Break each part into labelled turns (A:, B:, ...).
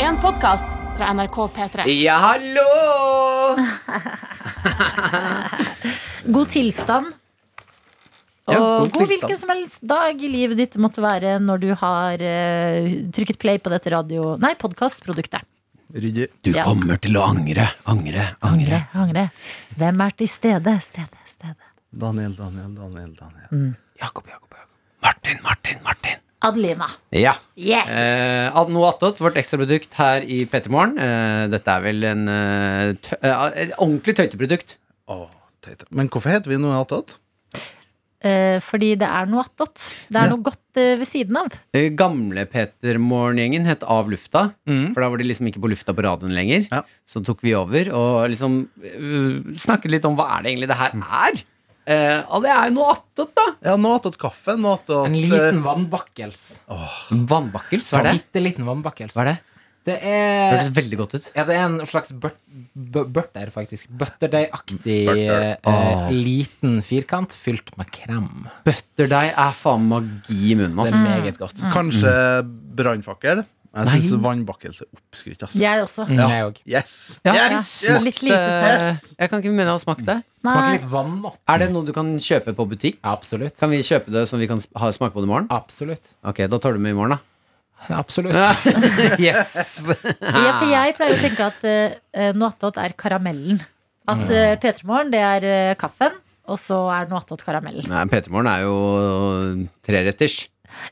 A: en podkast fra NRK P3.
B: Ja, hallo!
C: God tilstand. Og
B: Ja, god
C: god,
B: tilstand.
C: hvilken som helst dag i livet ditt måtte være når du har eh, trykket play på dette radio... Nei, podkastproduktet.
D: Ryddig.
B: Du
C: Ja.
B: kommer til å angre, angre, angre.
C: Angre. Hvem er til stede? Stede, stede.
D: Daniel, Daniel, Daniel. Daniel.
C: Mm.
B: Jakob, Jakob, Jakob. Martin, Martin, Martin.
C: Adelina.
B: Ja.
C: Yes!
B: Eh, at- noe attåt, vårt ekstraprodukt her i P3 Morgen. Eh, dette er vel en eh, tø eh, et ordentlig tøyteprodukt.
D: Å, teit. Men hvorfor heter vi noe attåt?
C: Eh, fordi det er noe attåt. Det er
D: Ja.
C: noe godt eh, ved siden av.
B: Eh, Gamle Peter Morgen-gjengen het Av lufta.
D: Mm.
B: For da var de liksom ikke på lufta på radioen lenger.
D: Ja.
B: Så tok vi over og liksom eh, snakket litt om hva er det egentlig det her er. Eh, og det er jo noe attåt, da.
D: Ja, noe attåt kaffe. Noe attåt
E: En
D: eh,
E: liten vannbakkels.
B: Vannbakkels, hva er det?
E: Bitte liten vannbakkels.
B: Hva er det?
E: Det
B: Det
E: er
B: hørtes veldig godt ut.
E: ja, det er en slags børt, bø- børter, faktisk. Butterdeig-aktig
D: Børter.
E: eh, liten firkant fylt med krem.
B: Butterdeig er faen magi i munnen,
E: Det
B: ass.
E: er meget godt.
D: Eh, Kanskje Mm. brannfakkel. Jeg syns
B: Nei.
D: vannbakkelse er oppskrytt, ass.
C: Jeg også.
E: Mm, jeg òg.
D: Yes!
B: Ja, jeg
D: yes!
B: smakte-
C: Litt lite snacks.
B: Jeg kan ikke mene å ha smakt det.
E: Smaker
C: Nei.
E: litt vannvått.
B: Er det noe du kan kjøpe på butikk?
E: Absolutt.
B: Kan vi kjøpe det som vi kan s- ha smake på det i morgen?
E: Absolutt.
B: Ok, da tar du med i morgen, da.
E: Absolutt.
B: Yes!
C: Ja, for jeg pleier å tenke at uh, noe attåt er karamellen. At uh, P3morgen, det er eh, kaffen, og så er noe attåt karamellen.
B: Nei, PT-morgen er jo treretters.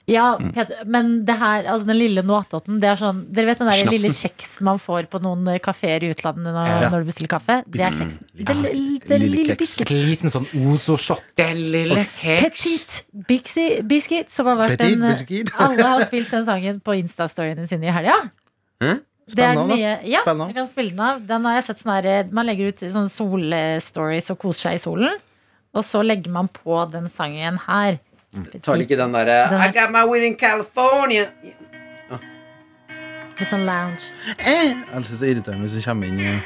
C: Ja, Peter, men det her, altså den lille noe attåten, det er sånn Dere vet den der
B: Snapsen.
C: lille kjeksen man får på noen eh, kafeer i utlandet når,
E: Ja.
C: når du bestiller kaffe? Det er kjeksen. Den lille,
D: Lille
C: lille
D: kjeks.
C: biscuit.
E: Et liten sånn Ozo-shot.
B: Den lille
C: Petit Bixi- Biscuit, som har vært
D: Petit
C: en eh,
D: biscuit.
C: Alle har spilt den sangen på Insta-storyene sine i helga. Det er den
D: Spennende,
C: nye, ja,
D: Spill den av.
C: jeg kan spille den av. Den har jeg sett sånn her Man legger ut sånne solstories og koser seg i solen. Og så legger man på den sangen her.
B: Tar de ikke den derre
C: Den
B: I
C: er-
B: got my win in California.
C: Litt sånn lounge.
D: Eh, Jeg syns det er irriterende hvis det kommer inn eh,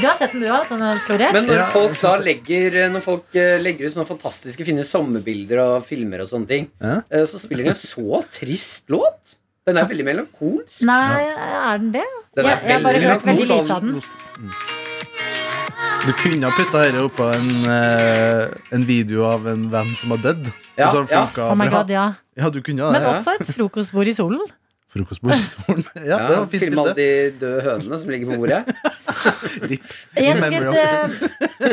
C: Du har sett den eh, du òg, denne Flore?
B: Men når
D: Ja,
B: folk
D: jeg synes
B: da
D: det-
B: legger, når folk eh, legger ut sånne fantastiske fine sommerbilder og filmer og sånne ting,
D: Ja.
B: eh, så spiller de en så trist låt. Den er veldig melankolsk.
C: Nei, er den det?
B: Den er
C: Jeg, jeg har bare
B: veldig
C: hørt veldig
D: Nostal-
C: lite av den.
D: nost- Mm. Du kunne ha putta dette oppå en, eh, en video av en venn som har dødd.
B: Ja,
D: Og så har det
B: ja.
D: funket
C: Oh my
D: bra.
C: god, ja.
D: ja, du kunne ha det.
C: Men også et frokostbord i solen.
D: Frokostbord i solen. Ja, det var
B: Ja,
D: et fint
B: Film alle
D: bilde.
B: de døde hønene som ligger på bordet.
C: Jeg tok
D: Memory
C: et,
D: of-
C: eh,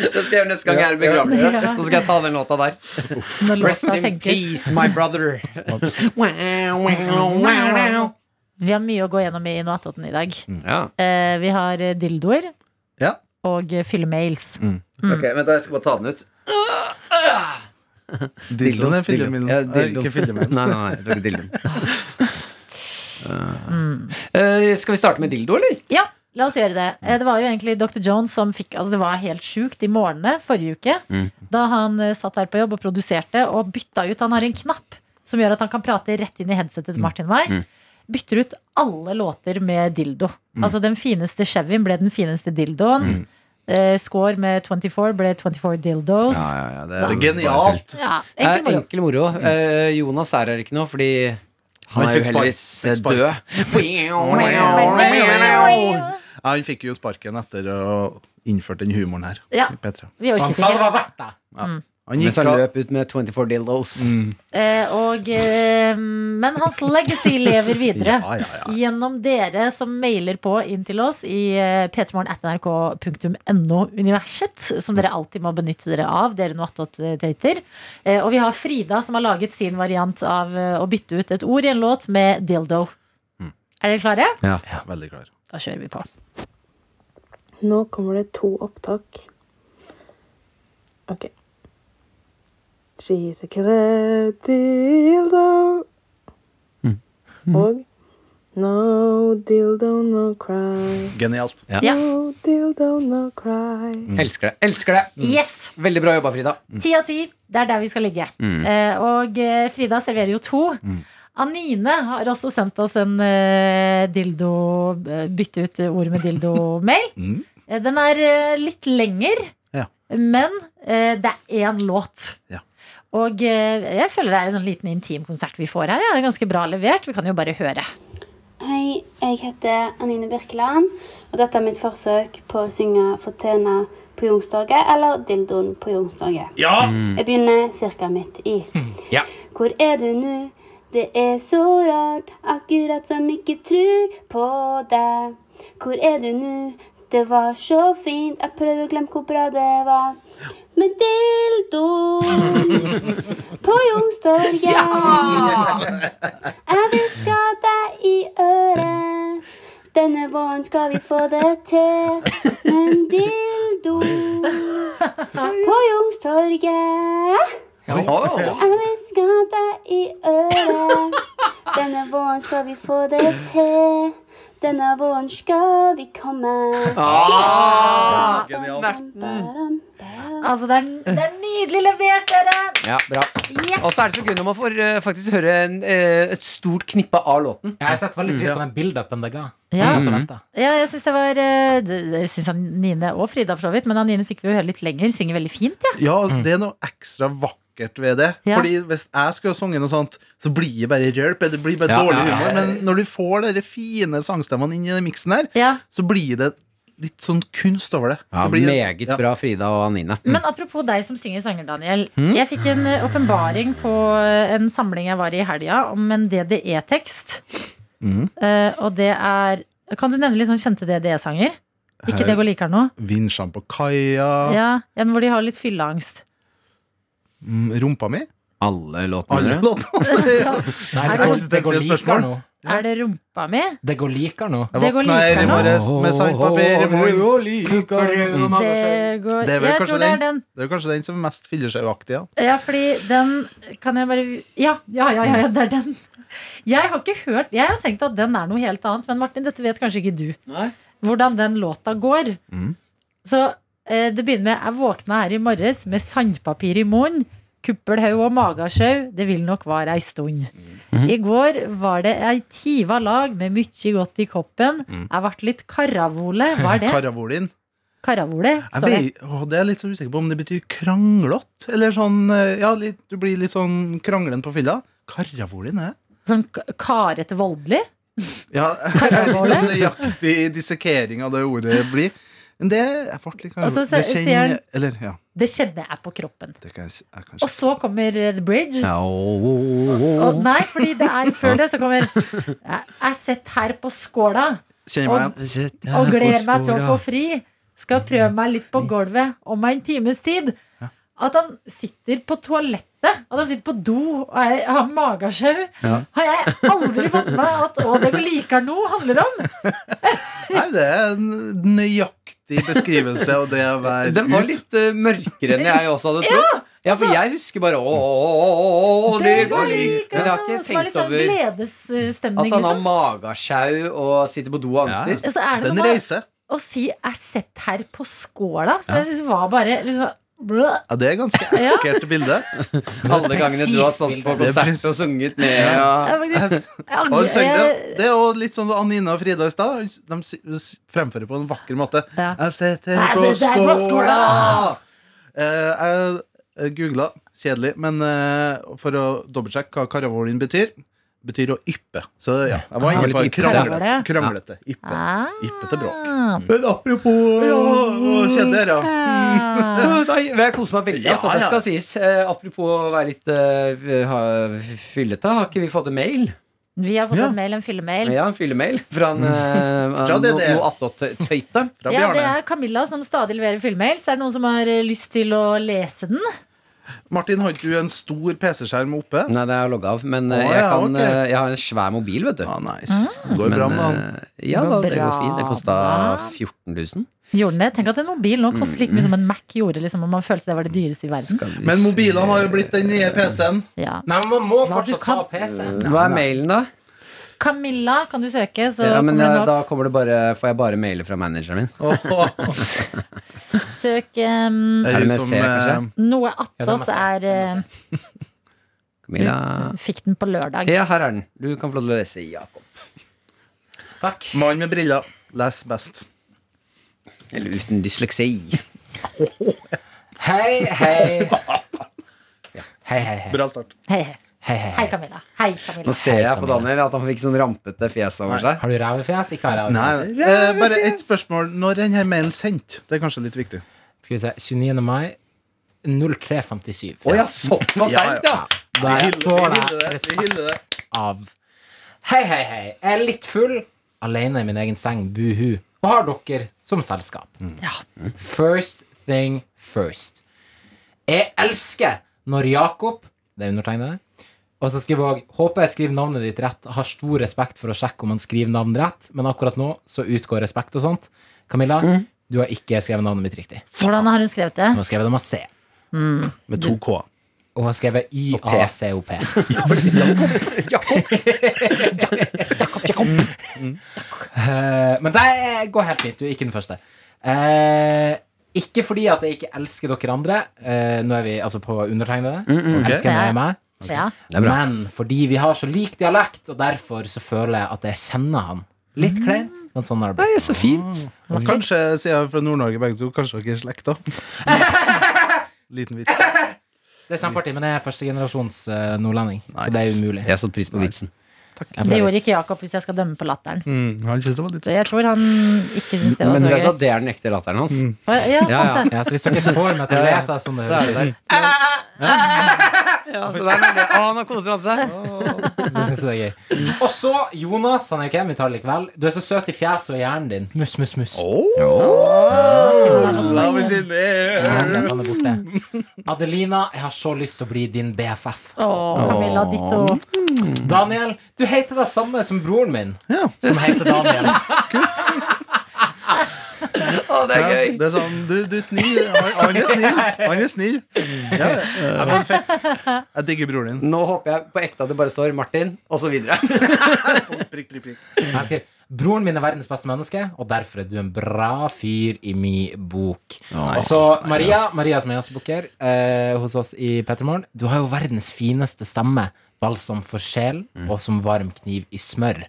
B: Det skal jeg gjøre neste gang jeg er i begravelse.
C: Ja.
B: Så skal jeg ta den låta der.
C: eh, når
B: Rest
C: låta
B: in
C: senkes.
B: peace, my brother. Wow, wow, wow.
C: Vi har mye å gå gjennom i Noatoten i dag.
B: Ja,
C: Eh, Vi har eh, dildoer
D: Ja.
C: og eh, fyllemails.
B: ok, vent da, jeg skal bare ta den ut.
D: Dildoen er filmen.
B: Ja,
D: Eh,
B: dildo.
D: Ikke filmen.
B: Nei, nei, nei, det var ikke dildoen. Eh, skal vi starte med dildo, eller?
C: Ja, la oss gjøre det. Eh, Det var jo egentlig Dr. Jones som fikk Altså, det var helt sjukt i morgenene forrige uke.
E: Mm.
C: Da han eh, satt her på jobb og produserte og bytta ut Han har en knapp som gjør at han kan prate rett inn i
E: Mm.
C: headsetet til Martin Wei. Bytter ut alle låter med dildo.
E: Mm.
C: Altså, den fineste Chevyen ble den fineste dildoen. Eh, score med 24 ble 24 dildos. Ja,
B: det
D: Det er genialt.
B: Eh,
C: enkel moro.
B: enkel moro. Eh, Jonas er her ikke nå, fordi han
D: Han
B: er jo
D: fikk spark.
B: heldigvis eh,
D: Fikk spark.
B: død.
D: Ja, han fikk jo sparken etter å ha innført den humoren her.
C: Ja,
D: i P3.
C: vi orker
E: Han sa det
C: ikke.
E: var verdt det.
D: Han
B: Mens
D: gikk
B: han
D: av Mm.
B: løp ut med 24 dildos.
C: Eh, og, eh, men hans legacy lever videre.
D: Ja, ja, ja.
C: Gjennom dere som mailer på inn til oss i eh, p3morgen.nrk.no-universet, som dere alltid må benytte dere av, dere noatot-tøyter. Eh, Og vi har Frida, som har laget sin variant av eh, å bytte ut et ord i en låt med dildo. Er dere klare?
D: Veldig klar.
C: Da kjører vi på.
F: Nå kommer det to opptak. OK. She's a killer dildo. Og No dildo, no cry.
D: Genialt.
C: Ja.
F: No dildo, no cry.
B: Mm. Elsker det. Elsker det.
C: Yes!
B: Veldig bra jobba, Frida.
C: Ti av ti, det er der vi skal ligge.
D: Mm.
C: Eh, og eh, Frida serverer jo to. Anine har også sendt oss en eh, dildo eh, Bytte ut ord med dildo-mail.
D: Mm.
C: Eh, den er eh, litt lengre,
D: Ja.
C: men eh, det er én låt.
D: Ja.
C: Og eh, jeg føler det er en sånn liten intim konsert vi får her. Ja. Det er ganske bra levert. Vi kan jo bare høre.
G: Hei, jeg heter Anine Birkeland, og dette er mitt forsøk på å synge Fortena på Youngstorget, eller Dildoen på Youngstorget.
D: Ja!
G: Jeg begynner cirka midt i.
B: Ja.
G: Hvor er du nå? Det er så rart, akkurat som ikke tror på deg. Hvor er du nå? Det var så fint, jeg prøvde å glemme hvor bra det var. Med dildoen på Youngstorget. Jeg hvisker deg i øret. Denne våren skal vi få det til. Men dildo på Youngstorget. Jeg hvisker deg i øret. Denne våren skal vi få det til. Denne våren skal vi komme.
B: Ah!
G: Snerten.
C: Altså, det er, det er nydelig levert, dere!
B: Ja, bra. Og så er det så gøy når man får eh, faktisk høre en, eh, et stort knippe av låten.
E: Jeg har sett veldig pris på den build-upen det ga.
C: Ja.
D: Mm.
E: Jeg satt og ventet.
C: Ja, jeg syns det var eh, det- Jeg syns Nine og Frida for så vidt, men Nine fikk vi jo høre litt lenger. Synger veldig fint, ja.
D: Ja,
B: Mm.
D: det er noe ekstra vakkert ved det.
C: Ja.
D: Fordi Hvis jeg skulle ha sunget noe sånt, så blir det bare rølp. eller Det blir bare
B: Ja,
D: dårlig
B: ja, ja.
D: humor. Men når du får de fine sangstemmene inn i den miksen her,
C: ja.
D: så blir det litt sånn kunst over det. det blir,
B: Meget
D: ja.
B: bra, Frida og Anine.
D: Mm.
C: Men apropos deg som synger sanger, Daniel. Jeg fikk en eh, åpenbaring på eh, en samling jeg var i i helga, om en DDE-tekst.
D: Mm.
C: Eh, og det er Kan du nevne litt sånn kjente DDE-sanger? Ikke
D: Her-
C: det går likere nå?
D: Vinsjene på kaia,
C: Ja, En hvor de har litt fylleangst.
D: mm, rumpa mi
B: Alle
D: Alle
B: låtene.
D: låtene. Ja.
E: Nei,
C: Er
E: det
C: det
E: går, det går
D: eksistensielt
E: likere
D: spørsmål?
E: nå.
C: Er det rumpa mi?
E: Det går likere nå.
D: Jeg
C: Det går
D: våkna her i
C: likere nå.
D: morges med sandpapir i munnen.
C: Det går
D: Det er vel
C: Jeg
D: kanskje
C: tror det er den.
D: Det er kanskje den som er mest fillesjauaktig. Ja.
C: Ja, fordi den Kan jeg bare Ja, ja, ja, ja, ja det er den. Jeg har ikke hørt Jeg har tenkt at den er noe helt annet, men Martin, dette vet kanskje ikke du.
B: Nei.
C: Hvordan den låta går.
D: Mm.
C: Så eh, det begynner med Jeg våkna her i morges med sandpapir i munnen. Kuppelhaug og magasjau, det vil nok vare ei stund.
D: Mm.
C: I går var det ei tiva lag med mykje godt i koppen.
D: Mm.
C: Jeg ble litt karavole. Hva er det?
D: Karavolin.
C: Karavole,
D: Jeg
C: står det.
D: vet, å, det er jeg litt så usikker på om det betyr kranglått. Eller sånn eh, Ja, litt, du blir litt sånn kranglen på fylla. Karavolin er
C: Sånn k- karete voldelig.
D: Ja, jeg vet ikke om nøyaktig dissekering av det ordet blir. Men det er fort litt
C: Og så
D: det
C: se-
D: kjenner-
C: sier han-
D: Eller, ja.
C: Det kjenner jeg på kroppen.
D: Det kan jeg, si- jeg kan
C: Og
D: si.
C: så kommer eh, The Bridge.
B: Ja, å, å, å, å.
C: Og, nei, fordi det er før det så kommer Jeg er sett her på skåla
D: Kjenner meg igjen.
C: og gleder meg til å få fri. Skal prøve meg litt på gulvet om en times tid. At han sitter på toalettet, at han sitter på do og er, har magesjau, har jeg aldri fått med meg at 'Å, det går likere nå' handler om.
D: Nei, det er en nøyaktig beskrivelse av det å være
B: Den var litt eh, mørkere enn jeg også hadde trodd. Ja,
C: altså,
B: for jeg husker bare å, å, å, å, å, det går likere. Men jeg har ikke
C: Som er litt
B: tenkt
C: sånn
B: over
C: gledesstemning,
B: at han har
C: liksom.
B: magesjau og sitter på do og angster.
C: Så er det
D: Den
C: noe med
D: reise.
C: å si 'er sett her på skåla', som jeg syns var bare liksom, bløh.
D: Ja, det er ganske
C: Ja.
D: ekkelt bilde.
B: Alle gangene du har stått på
D: Det er
B: konsert
D: presis.
B: og sunget med ja.
C: Jeg faktisk- jeg
D: Og han
C: angrer-
D: synger det.
C: jeg-
D: Det er også litt sånn som Anina og Frida i stad. De sy- s- fremfører på en vakker måte.
C: Ja.
D: Jeg sitter
C: Jeg
D: på
C: sitter på
D: skåla! Eh, Jeg googla, kjedelig, men eh, for å dobbeltsjekke hva karavolin betyr Betyr å yppe. Så ja, jeg var
B: Ah,
D: inne på
B: litt yppete.
D: kranglete.
C: Ja.
D: kranglete yppe.
C: Ah.
D: Yppete bråk.
C: Mm.
B: Men apropos
D: Ja, å, kjedelig her, ja.
C: Ah.
B: Nei, jeg koser meg veldig.
D: Ja,
B: altså, det
D: ja.
B: skal sies. Eh, apropos å være litt eh, ha, fyllete, har ikke vi fått en mail?
C: Vi har fått
D: Ja.
C: en mail, en fyllemail. Ja.
B: Ja, en fyllemail fra en eh,
D: Fra
B: no,
D: DDE.
B: noe attåttøyte.
D: Fra Bjarne.
C: det er Camilla som stadig leverer fyllemail. Så er det noen som har eh, lyst til å lese den.
D: Martin, har ikke du en stor PC-skjerm oppe?
B: Nei, det er logga av. Men eh,
D: Å,
B: jeg,
D: ja,
B: kan,
D: ok.
B: eh, jeg har en svær mobil, vet du.
D: Ja, Ah, nice. Det går
B: Men,
D: bra med han.
B: eh, Ja, da, det går
C: Bra,
B: fint. Det kosta
C: da.
B: 14 000.
C: Gjorde den det? Tenk at en mobil nå koster like mye som en Mac gjorde. Liksom, og man følte det var det dyreste i verden.
B: Skal vi
D: Men
B: se.
D: mobilene har jo blitt den nye PC-en.
C: Ja.
E: Nei, men man må
C: Hva du
E: fortsatt ta
C: kan-
E: PC.
B: Hva er mailen, da?
C: Camilla kan du søke, så
B: Ja, men
C: kommer
B: eh,
C: den opp.
B: Da kommer det bare, får jeg bare mailer fra manageren min.
C: Søk um,
B: Er det med
D: som,
B: C, kanskje?
D: eh,
C: Noe
E: Ja, den må
C: attåt
E: se.
C: er eh,
B: Camilla.
C: Fikk den på lørdag.
B: Ja, her er den. Du kan få lov til å lese, Jakob.
E: Takk.
D: Mann med briller leser best.
B: Eller uten dysleksi.
E: Hei, hei. Hei, hei, hei.
D: Bra start.
C: Hei, hei.
E: Hei, hei,
C: Hei,
E: hei.
C: Camilla. Hei, Camilla.
B: Nå ser jeg på Daniel at han fikk sånn rampete fjes over seg.
E: Har du rævefjes? Ikke har jeg
D: Nei,
E: rævefjes.
D: eh, bare ett spørsmål. Når er denne mailen sendt? Det er kanskje litt viktig.
E: Skal vi se. 29. mai 0357.
B: Å ja, såpass
D: Ja,
B: seint, ja!
E: Der får jeg
D: Vi
E: respekt
D: hyller det.
E: av Hei, hei, hei. Jeg er litt full. Alene i min egen seng. Buhu. Og har dere som selskap. First thing first. Jeg elsker når Jakob Det er undertegnede. Og så skriver jeg også, Håper jeg skriver navnet ditt rett. Har stor respekt for å sjekke om han skriver navn rett, men akkurat nå så utgår respekt og sånt. Camilla, du har ikke skrevet navnet mitt riktig.
C: Hvordan har hun skrevet det?
E: Hun har skrevet det med C.
D: Med to K.
E: Og hun har skrevet YACOP.
B: Jakob.
E: Mm, Eh, men det går helt fint. Du er ikke den første. Eh, ikke fordi at jeg ikke elsker dere andre. Eh, nå er vi altså på undertegnede.
D: ok.
E: Elsker når jeg mm. er meg.
C: Ja.
E: Men fordi vi har så lik dialekt, og derfor så føler jeg at jeg kjenner han. Litt
C: Mm.
E: kleint, men sånn har det blitt.
B: Så fint.
D: Kanskje, sier jeg fra Nord-Norge begge to, kanskje dere er i slekt, da. Liten vits.
E: Det er Senterpartiet, men jeg er førstegenerasjons uh, nordlending, så det er umulig.
B: Jeg satte pris på vitsen.
E: Jeg
C: Det gjorde
E: prøver.
C: ikke Jakob, hvis jeg skal dømme på latteren.
D: Mm, han synes det var litt
C: Så jeg tror han ikke syns det var
B: Men
C: så
B: du vet
C: gøy.
B: at det er den ekte latteren hans?
C: Ja, sant
B: Ja, ja.
C: det.
E: Ja, så hvis dere får meg til å lese sånn det høres ut,
B: Ja, så der er det. Å, nå koser han seg.
E: det synes jeg er gøy. Og så Jonas, han er ikke hjemme i tall likevel. Du er så søt i fjeset og i hjernen din. Muss, muss, muss.
D: Love is in the air.
E: Sanderen, han er borte. Adelina, jeg har så lyst til å bli din BFF.
C: Å, Camilla, ditto.
E: Daniel, du heter det samme som broren min,
D: Ja.
E: som heter Daniel.
B: Å, det er gøy.
D: Det er sånn, du, du er snill. Han, han er snill. Han er snill. Ja, ja, men fett. Jeg digger broren din.
B: Nå håper jeg på ekte at det bare står Martin, og så videre.
D: Prikk, prikk, prikk.
E: Jeg skriver, Broren min er verdens beste menneske, og derfor er du en bra fyr i mi bok. Og så Maria, Maria som er gjestebooker eh, hos oss i Pettermorgen. Du har jo verdens fineste stemme. Balsam for sjel, og som varm kniv i smør.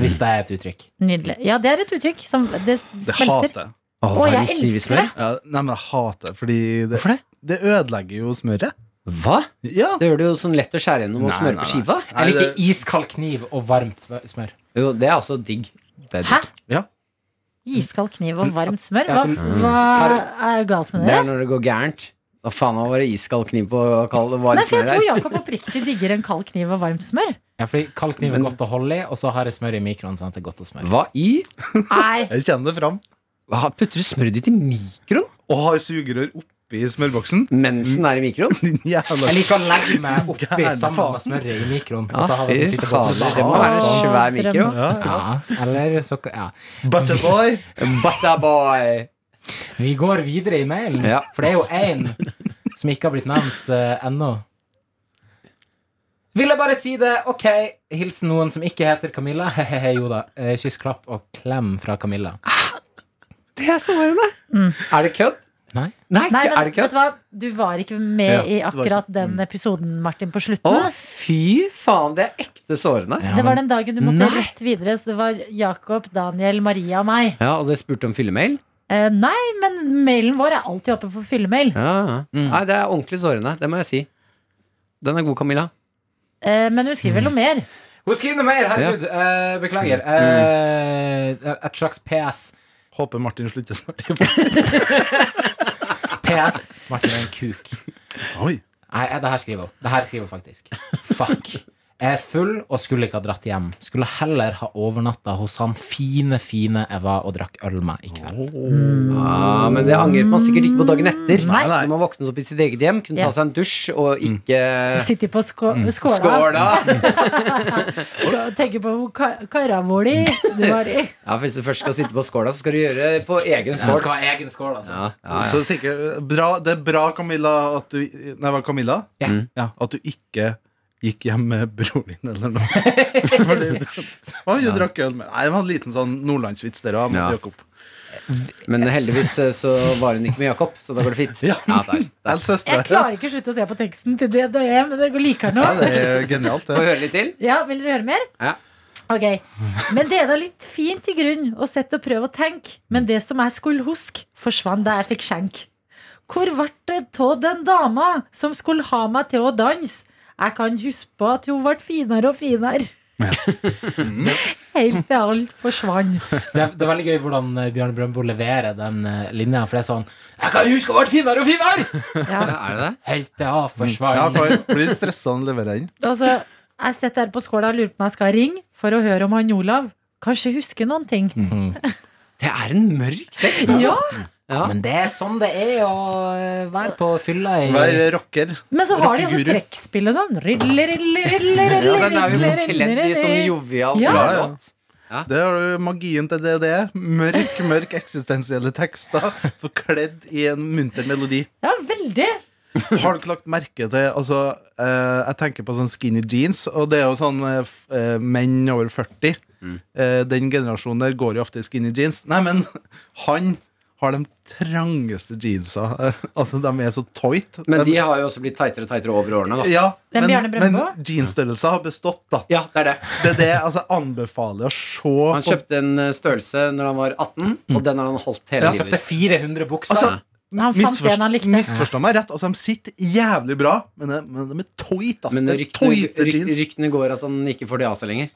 E: Hvis det er et uttrykk.
C: Nydelig. Ja, det er et uttrykk som det
D: Det hater
C: smelter.
D: jeg.
B: Å,
C: Å,
B: varm
C: jeg
B: kniv i
C: elsker
B: smør.
D: Ja, nei, men jeg hater det, fordi det,
B: Hvorfor det?
D: det ødelegger jo smøret.
B: Hva?
D: Ja.
B: Det gjør det jo sånn lett å skjære gjennom og
D: Nei,
B: smøre
D: nei,
B: på
D: nei.
B: skiva.
D: Nei,
E: Jeg
D: det-
E: liker iskald kniv og varmt smør- smør.
B: Jo, det er også digg. Det er
C: Hæ?
B: digg.
D: Ja.
C: Iskald kniv og varmt smør? Hva,
E: Ja, du-
C: hva er galt med
B: Det
C: det?
B: er når det går gærent. Hva faen var det iskald kniv på å kalle det
C: Nei,
B: varmt
C: for jeg
B: smør
C: tror
B: her?
C: Jakob oppriktig digger en kald kniv og varmt smør.
E: Ja, fordi Kald kniv er
B: Men-
E: godt å holde i, og så har jeg smør i mikroen. sånn at det er godt å smøre.
B: Hva i?
C: Nei,
D: Jeg kjenner det fram.
B: Hva, putter du smøret ditt i mikroen?
D: Og har sugerør oppi smørboksen.
B: Mens den er i mikroen?
D: Din jævla
E: Jeg liker å legge meg oppi
D: Gærne
E: sammen med smøret i mikroen. og så
B: Ja, Ah,
E: har
B: fy
E: jeg sånn lite
B: fader. Det
E: bolle.
B: må være en svær mikro.
D: ja, ja.
E: Ja, eller så ja.
D: Butterboy.
B: Butterboy.
E: Vi går videre i mailen,
B: Ja.
E: for det er jo én som ikke har blitt nevnt eh, ennå. Vil jeg bare si det, ok. Hilsen noen som ikke heter Camilla. Hehehe, jo da. Eh, Kyss, klapp og klem fra Camilla.
B: Det er sårende. Er det kødd?
E: Nei.
B: Nei, er
C: Mm. Nei men
B: det
C: vet du
B: kødd?
C: hva? Du var ikke med
D: Ja,
C: i
D: du var
C: akkurat den episoden, Martin, på
B: Å,
C: slutten.
B: fy faen, det er ekte sårende.
E: Ja,
C: Det var
E: men-
C: den dagen du måtte
B: Nei.
C: rett videre, så det var Jakob, Daniel, Maria og meg.
B: Ja, og det spurte om fyllemail?
C: Eh, nei, men mailen vår er alltid åpen for fyllemail.
B: Ja. ja. Nei, det er ordentlig sårende. Det må jeg si. Den er god, Camilla.
C: Eh, men hun skriver noe mer.
E: Hun skriver noe mer! Herregud. eh, beklager. Eh, et slags PS.
D: Håper Martin slutter snart.
E: PS. Martin er en kuk.
D: Oi.
E: Nei, det her skriver hun. Det her skriver hun faktisk. Fuck. Jeg er full og skulle ikke ha dratt hjem. Skulle heller ha overnatta hos han fine, fine jeg var og drakk øl med i kveld.
D: Mm.
B: Mm. Ja, men det angret man sikkert ikke på dagen etter.
D: Nei, nei.
B: Når man våknet opp i sitt eget hjem, kunne
C: Ja.
B: ta seg en dusj og ikke
C: Sitter på skå skåla
B: skåla.
C: og tenker på hvor ka- karavoli du var i.
B: Ja, for hvis du først skal sitte på skåla, så skal du gjøre det på egen
E: Man
B: skål.
E: skal ha egen skål, altså.
B: Ja, ja, ja.
D: Så sikkert, eh, bra, det er bra, Camilla, at du, nei, var det Camilla?
E: Ja.
D: Ja, at du ikke gikk hjem med broren din eller noe. Fordi, oi, du drakk øl med Nei, det var en liten sånn nordlandsvits der òg.
B: Ja. Men heldigvis eh, så var hun ikke med Jakob, så da går det fint.
D: Ja.
B: der, der.
D: Søstera
C: Jeg klarer ikke å slutte å se på teksten til det det er, men det går liker nå.
D: Det er genialt,
B: Får
D: det.
B: vi høre litt til?
C: Ja, vil dere høre mer?
B: Ja.
C: Ok. Men det er da litt fint i grunn, og sett og prøv å tenke. Men det som jeg skulle huske, forsvant da jeg fikk skjenk. Hvor vart det tå den dama som skulle ha meg til å danse? Jeg kan huske på at hun ble finere og finere. Helt til alt forsvant.
E: Det er, det er veldig gøy hvordan eh, Bjørn Brøndbo leverer den eh, linja, for det er sånn Jeg kan huske å ha vært finere og finere!
C: Ja.
B: Er det det?
E: Helt til jeg forsvant.
D: Mm. Ja, for blir litt stressa når han leverer inn.
C: Og så, Altså, jeg sitter her på skåla og lurer på om jeg skal ringe for å høre om han Olav kanskje husker noen ting.
B: Mm. Det er en mørk tekst. altså.
C: Ja,
B: Ja.
E: Men det er sånn det er å eh, være på fylla i
B: eh,
D: Vær rocker.
C: Men så har de også
D: Rockeguru.
C: trekkspill og sånn. Rille, rille, rille,
B: Ja,
C: rille,
B: den er jo
C: rille,
B: forkledd i
C: rille,
B: sånn
C: rille.
B: jovial
C: Ja.
B: gladlåt.
D: Det har du magien til det det er. Mørk, mørk eksistensielle tekster forkledd i en munter melodi.
C: Ja, veldig.
D: Har dere lagt merke til Altså, eh, jeg tenker på sånn skinny jeans, og det er jo sånn eh, f- eh, menn over 40.
B: Mm.
D: Eh, den generasjonen der går jo ofte i skinny jeans. Nei, men han har de trangeste jeansa. Eh, altså, de er så tight.
B: Men de har jo også blitt tightere og tightere over årene. Da.
D: ja,
C: Hvem
D: men,
C: Bjarne
D: men
C: Brøndbo?
D: jeansstørrelser har bestått, da.
B: Ja, det er det.
D: Det er det altså, jeg anbefaler å se
B: Han
D: på
B: kjøpte en eh, størrelse når han var 18, og den har han holdt hele
E: Jeg kjøpte
B: livet.
E: 400 bukser.
D: Altså,
C: Han fant en han likte.
D: misforstå meg rett. Altså, de sitter jævlig bra, men de, men de er tight. ass.
B: Men
D: Det er
B: ryktene,
D: tighte
B: ryk-
D: jeans.
B: ryktene går at han ikke får det av seg lenger.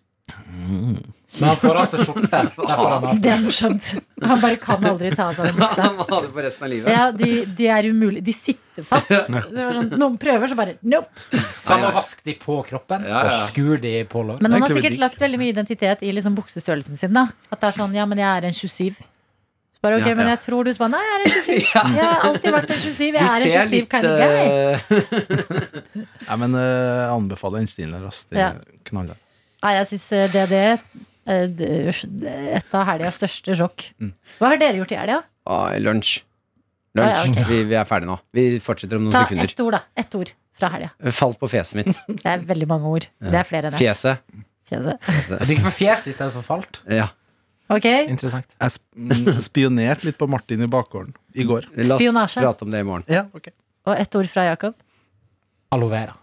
E: Men han får altså skjorte. Der får han altså.
C: Det er morsomt. Han bare kan aldri ta av seg den buksa.
B: Han må ha det for resten av livet.
C: Ja, de, de er umulige. De sitter fast. Det var sånn, noen prøver, så bare nope.
E: Så han må vaske de på kroppen
B: Ja, ja.
E: og skure de på lår.
C: Men han har
D: Egentlig
C: sikkert
D: veldig-
C: lagt veldig mye identitet i liksom buksestørrelsen sin. da At det er sånn Ja, men jeg er en 27. Så bare, ok,
B: Ja.
C: Men jeg tror du så bare Nei, jeg er en 27. Jeg har alltid vært en
B: Du
C: 27. Jeg er
B: ser
C: en 27
B: litt
C: kind of guy.
B: eh,
D: Nei, men eh, jeg anbefaler den stilen der. ass. Det
C: Ja.
D: er knallhardt.
C: Nei, jeg syns det, det eh, det er et av helgas største sjokk.
B: Mm.
C: Hva har dere gjort i helga?
B: ah, Lunsj. Lunsj.
C: Ah, ja, ok.
B: vi, vi er ferdige nå. Vi fortsetter om noen
C: Ta
B: sekunder.
C: ett ord, da. Ett ord fra helga.
B: Falt på fjeset mitt.
C: Det er veldig mange ord. Det er flere enn ett.
B: Fjeset.
C: Fjeset.
E: Jeg fikk for fjes i stedet for falt.
B: Ja.
C: Ok,
E: Interessant.
D: Jeg sp- mm, spionerte litt på Martin i bakgården i går.
B: La oss
C: Spionasje.
B: prate om det i morgen.
D: Ja, ok
C: Og ett ord fra Jakob.
E: Aloe vera.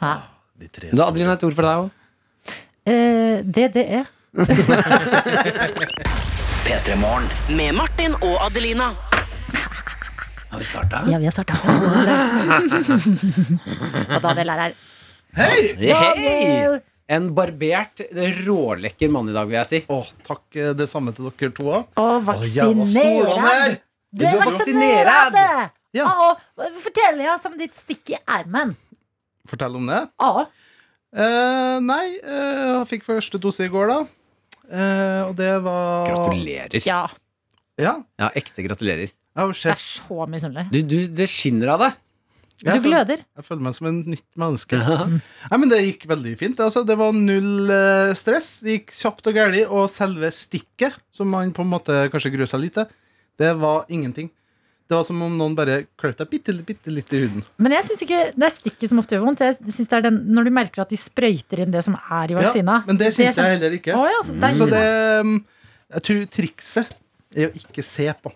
C: Hæ?
D: De tre
B: Da, Adeline, et ord for deg òg.
C: Eh, DDE.
H: Med Martin og Adelina.
C: Ja, vi har starta. Og Daniel er her.
B: Hei! En barbert, rålekker mann i dag, vil jeg si.
D: store. Å, takk eh, det samme til dere to òg.
C: Og vaksinert.
B: Du
C: Du er
B: er
C: vaksinert!
D: Ja.
C: Og fortell oss om ditt stikk i ermen.
D: Fortell om det.
C: Ja.
D: Eh, nei, eh, jeg fikk første dose i går, da. Eh, og det var
B: Gratulerer.
C: Ja,
D: Ja,
B: Ja, ekte gratulerer.
D: jeg har jo
C: jeg er
D: sett
C: så misunnelig.
B: Du, du, det skinner av deg.
C: Du
D: jeg føler-
C: gløder.
D: Jeg føler meg som en nytt menneske. Nei, men Det gikk veldig fint. Altså, det var null eh, stress. Det gikk kjapt og gærlig Og selve stikket, som man på en måte kanskje gruer seg litt til, det var ingenting. Det var som om noen bare kløp deg bitte, bitte litt i huden.
C: Men jeg synes ikke det er stikket som ofte gjør vondt. Jeg synes det er den, Når du merker at de sprøyter inn det som er i vaksina.
D: Ja, men det kjente jeg heller ikke.
C: Å, ja, så
D: Så
C: deilig.
D: det um, Jeg tror trikset er å ikke se på.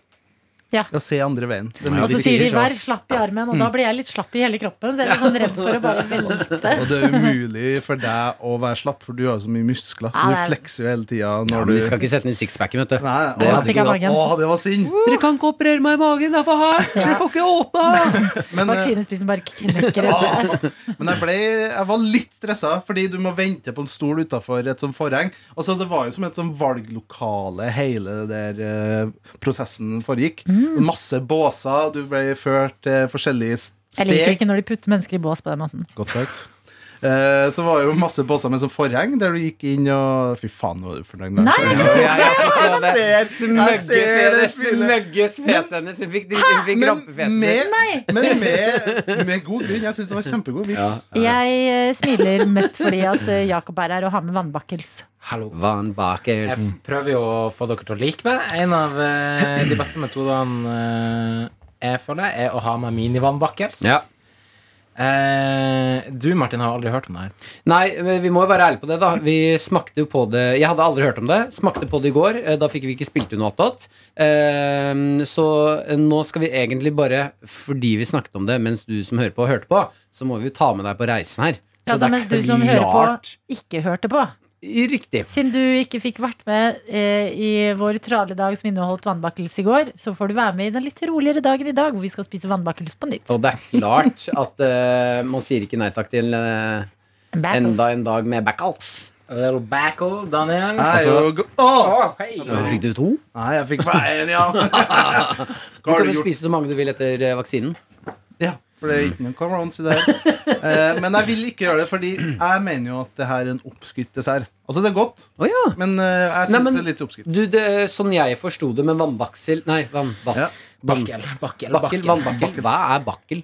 C: Ja.
D: Å se andre veien. Det er
B: Ja,
D: mye
C: Og så
B: de
C: sier de
B: sier så.
C: 'vær slapp i armen', og da blir jeg litt slapp i hele kroppen. Så jeg er litt sånn redd for å bare velte.
D: viktigere. Og det er umulig for deg å være slapp, for du har jo så mye muskler. Så
C: Ja,
D: du
C: det er-
D: flekser jo hele tida
B: Ja,
D: når
B: men
D: du
B: de skal ikke sette den i sixpacken, vet du.
D: Nei,
B: Det
D: å,
B: hadde
C: Fikk jeg
B: ikke gått.
C: magen.
D: å, det var synd.
B: Dere kan ikke operere meg i magen, det er for hardt! Dere får ikke åpne!
D: Men, eh, Ah,
C: Vaksinespissen bare knekker. etter.
D: men jeg, ble, jeg var litt stressa, fordi du må vente på en stol utafor et sånt forheng. Og så Det var jo som et sånn valglokale hele det der eh, prosessen foregikk.
B: Mm.
D: Masse båser, du ble ført til forskjellige s-
C: Jeg
D: steg.
C: liker ikke når de putter mennesker i bås på den måten.
D: Godt sagt. Eh, så var det jo masse båser med sånn forheng, der du gikk inn og Fy faen, nå er du fornøyd med
C: Nei,
D: deg
B: Ja,
D: selv.
B: ja, jeg skal se det.
D: Jeg ser-
B: Smøgge
D: jeg ser det
B: fjes-
D: spillet.
B: smøgge fjeset hennes. Hun fikk, drit- hun fikk
D: Men
B: rampefjeset.
D: med, men med, med god grunn. Jeg syns det var kjempegod vits.
B: Ja.
C: Jeg eh, smiler mest fordi at eh, Jakob er her og har med vannbakkels.
E: Hallo.
B: Van
E: Jeg
B: Bakers.
E: prøver jo å få dere til å like meg. En av eh, de beste metodene eh, jeg føler, er å ha meg minivannbakkels.
B: Ja.
E: Eh, du, Martin, har aldri hørt om det her.
B: Nei, men vi må jo være ærlige på det, da. Vi smakte jo på det Jeg hadde aldri hørt om det. Smakte på det i går. eh, Da fikk vi ikke spilt unna attåt. Ehm, Så nå skal vi egentlig bare, fordi vi snakket om det mens du som hører på, hørte på, så må vi jo ta med deg på reisen her. Så
C: Altså,
B: det er
C: mens du som hører på, ikke hørte på.
B: Riktig.
C: Siden du ikke fikk vært med eh, i vår traledag som inneholdt vannbakkelse i går, så får du være med i den litt roligere dagen i dag, hvor vi skal spise vannbakkelse på nytt.
B: Og det er klart at eh, man sier ikke nei takk til eh,
C: Battles.
B: enda en dag med backals.
E: A little backle, Daniel.
D: Jeg er
B: Altså-
D: jo go- Åh!
E: Å, hei.
B: Fikk du to?
D: Nei, jeg fikk bare én, ja.
B: Du
D: Hva har
B: kan
D: du
B: jo
D: gjort?
B: spise så mange du vil etter eh, vaksinen.
D: Ja, for det er ikke noe corona i det her. Eh, men jeg vil ikke gjøre det, fordi jeg mener jo at det her er en oppskrytt dessert. Altså, det er godt,
B: Å ja.
D: men eh, jeg
B: Nei,
D: syns
B: men-
D: det er litt oppskrytt.
B: Du, det, sånn jeg forsto det med vannbaksel Nei, vannbass. Vann-
E: Bakkel,
B: Bakkel,
E: bakkel, bakkel.
B: vannbakkel. Hva er bakkel?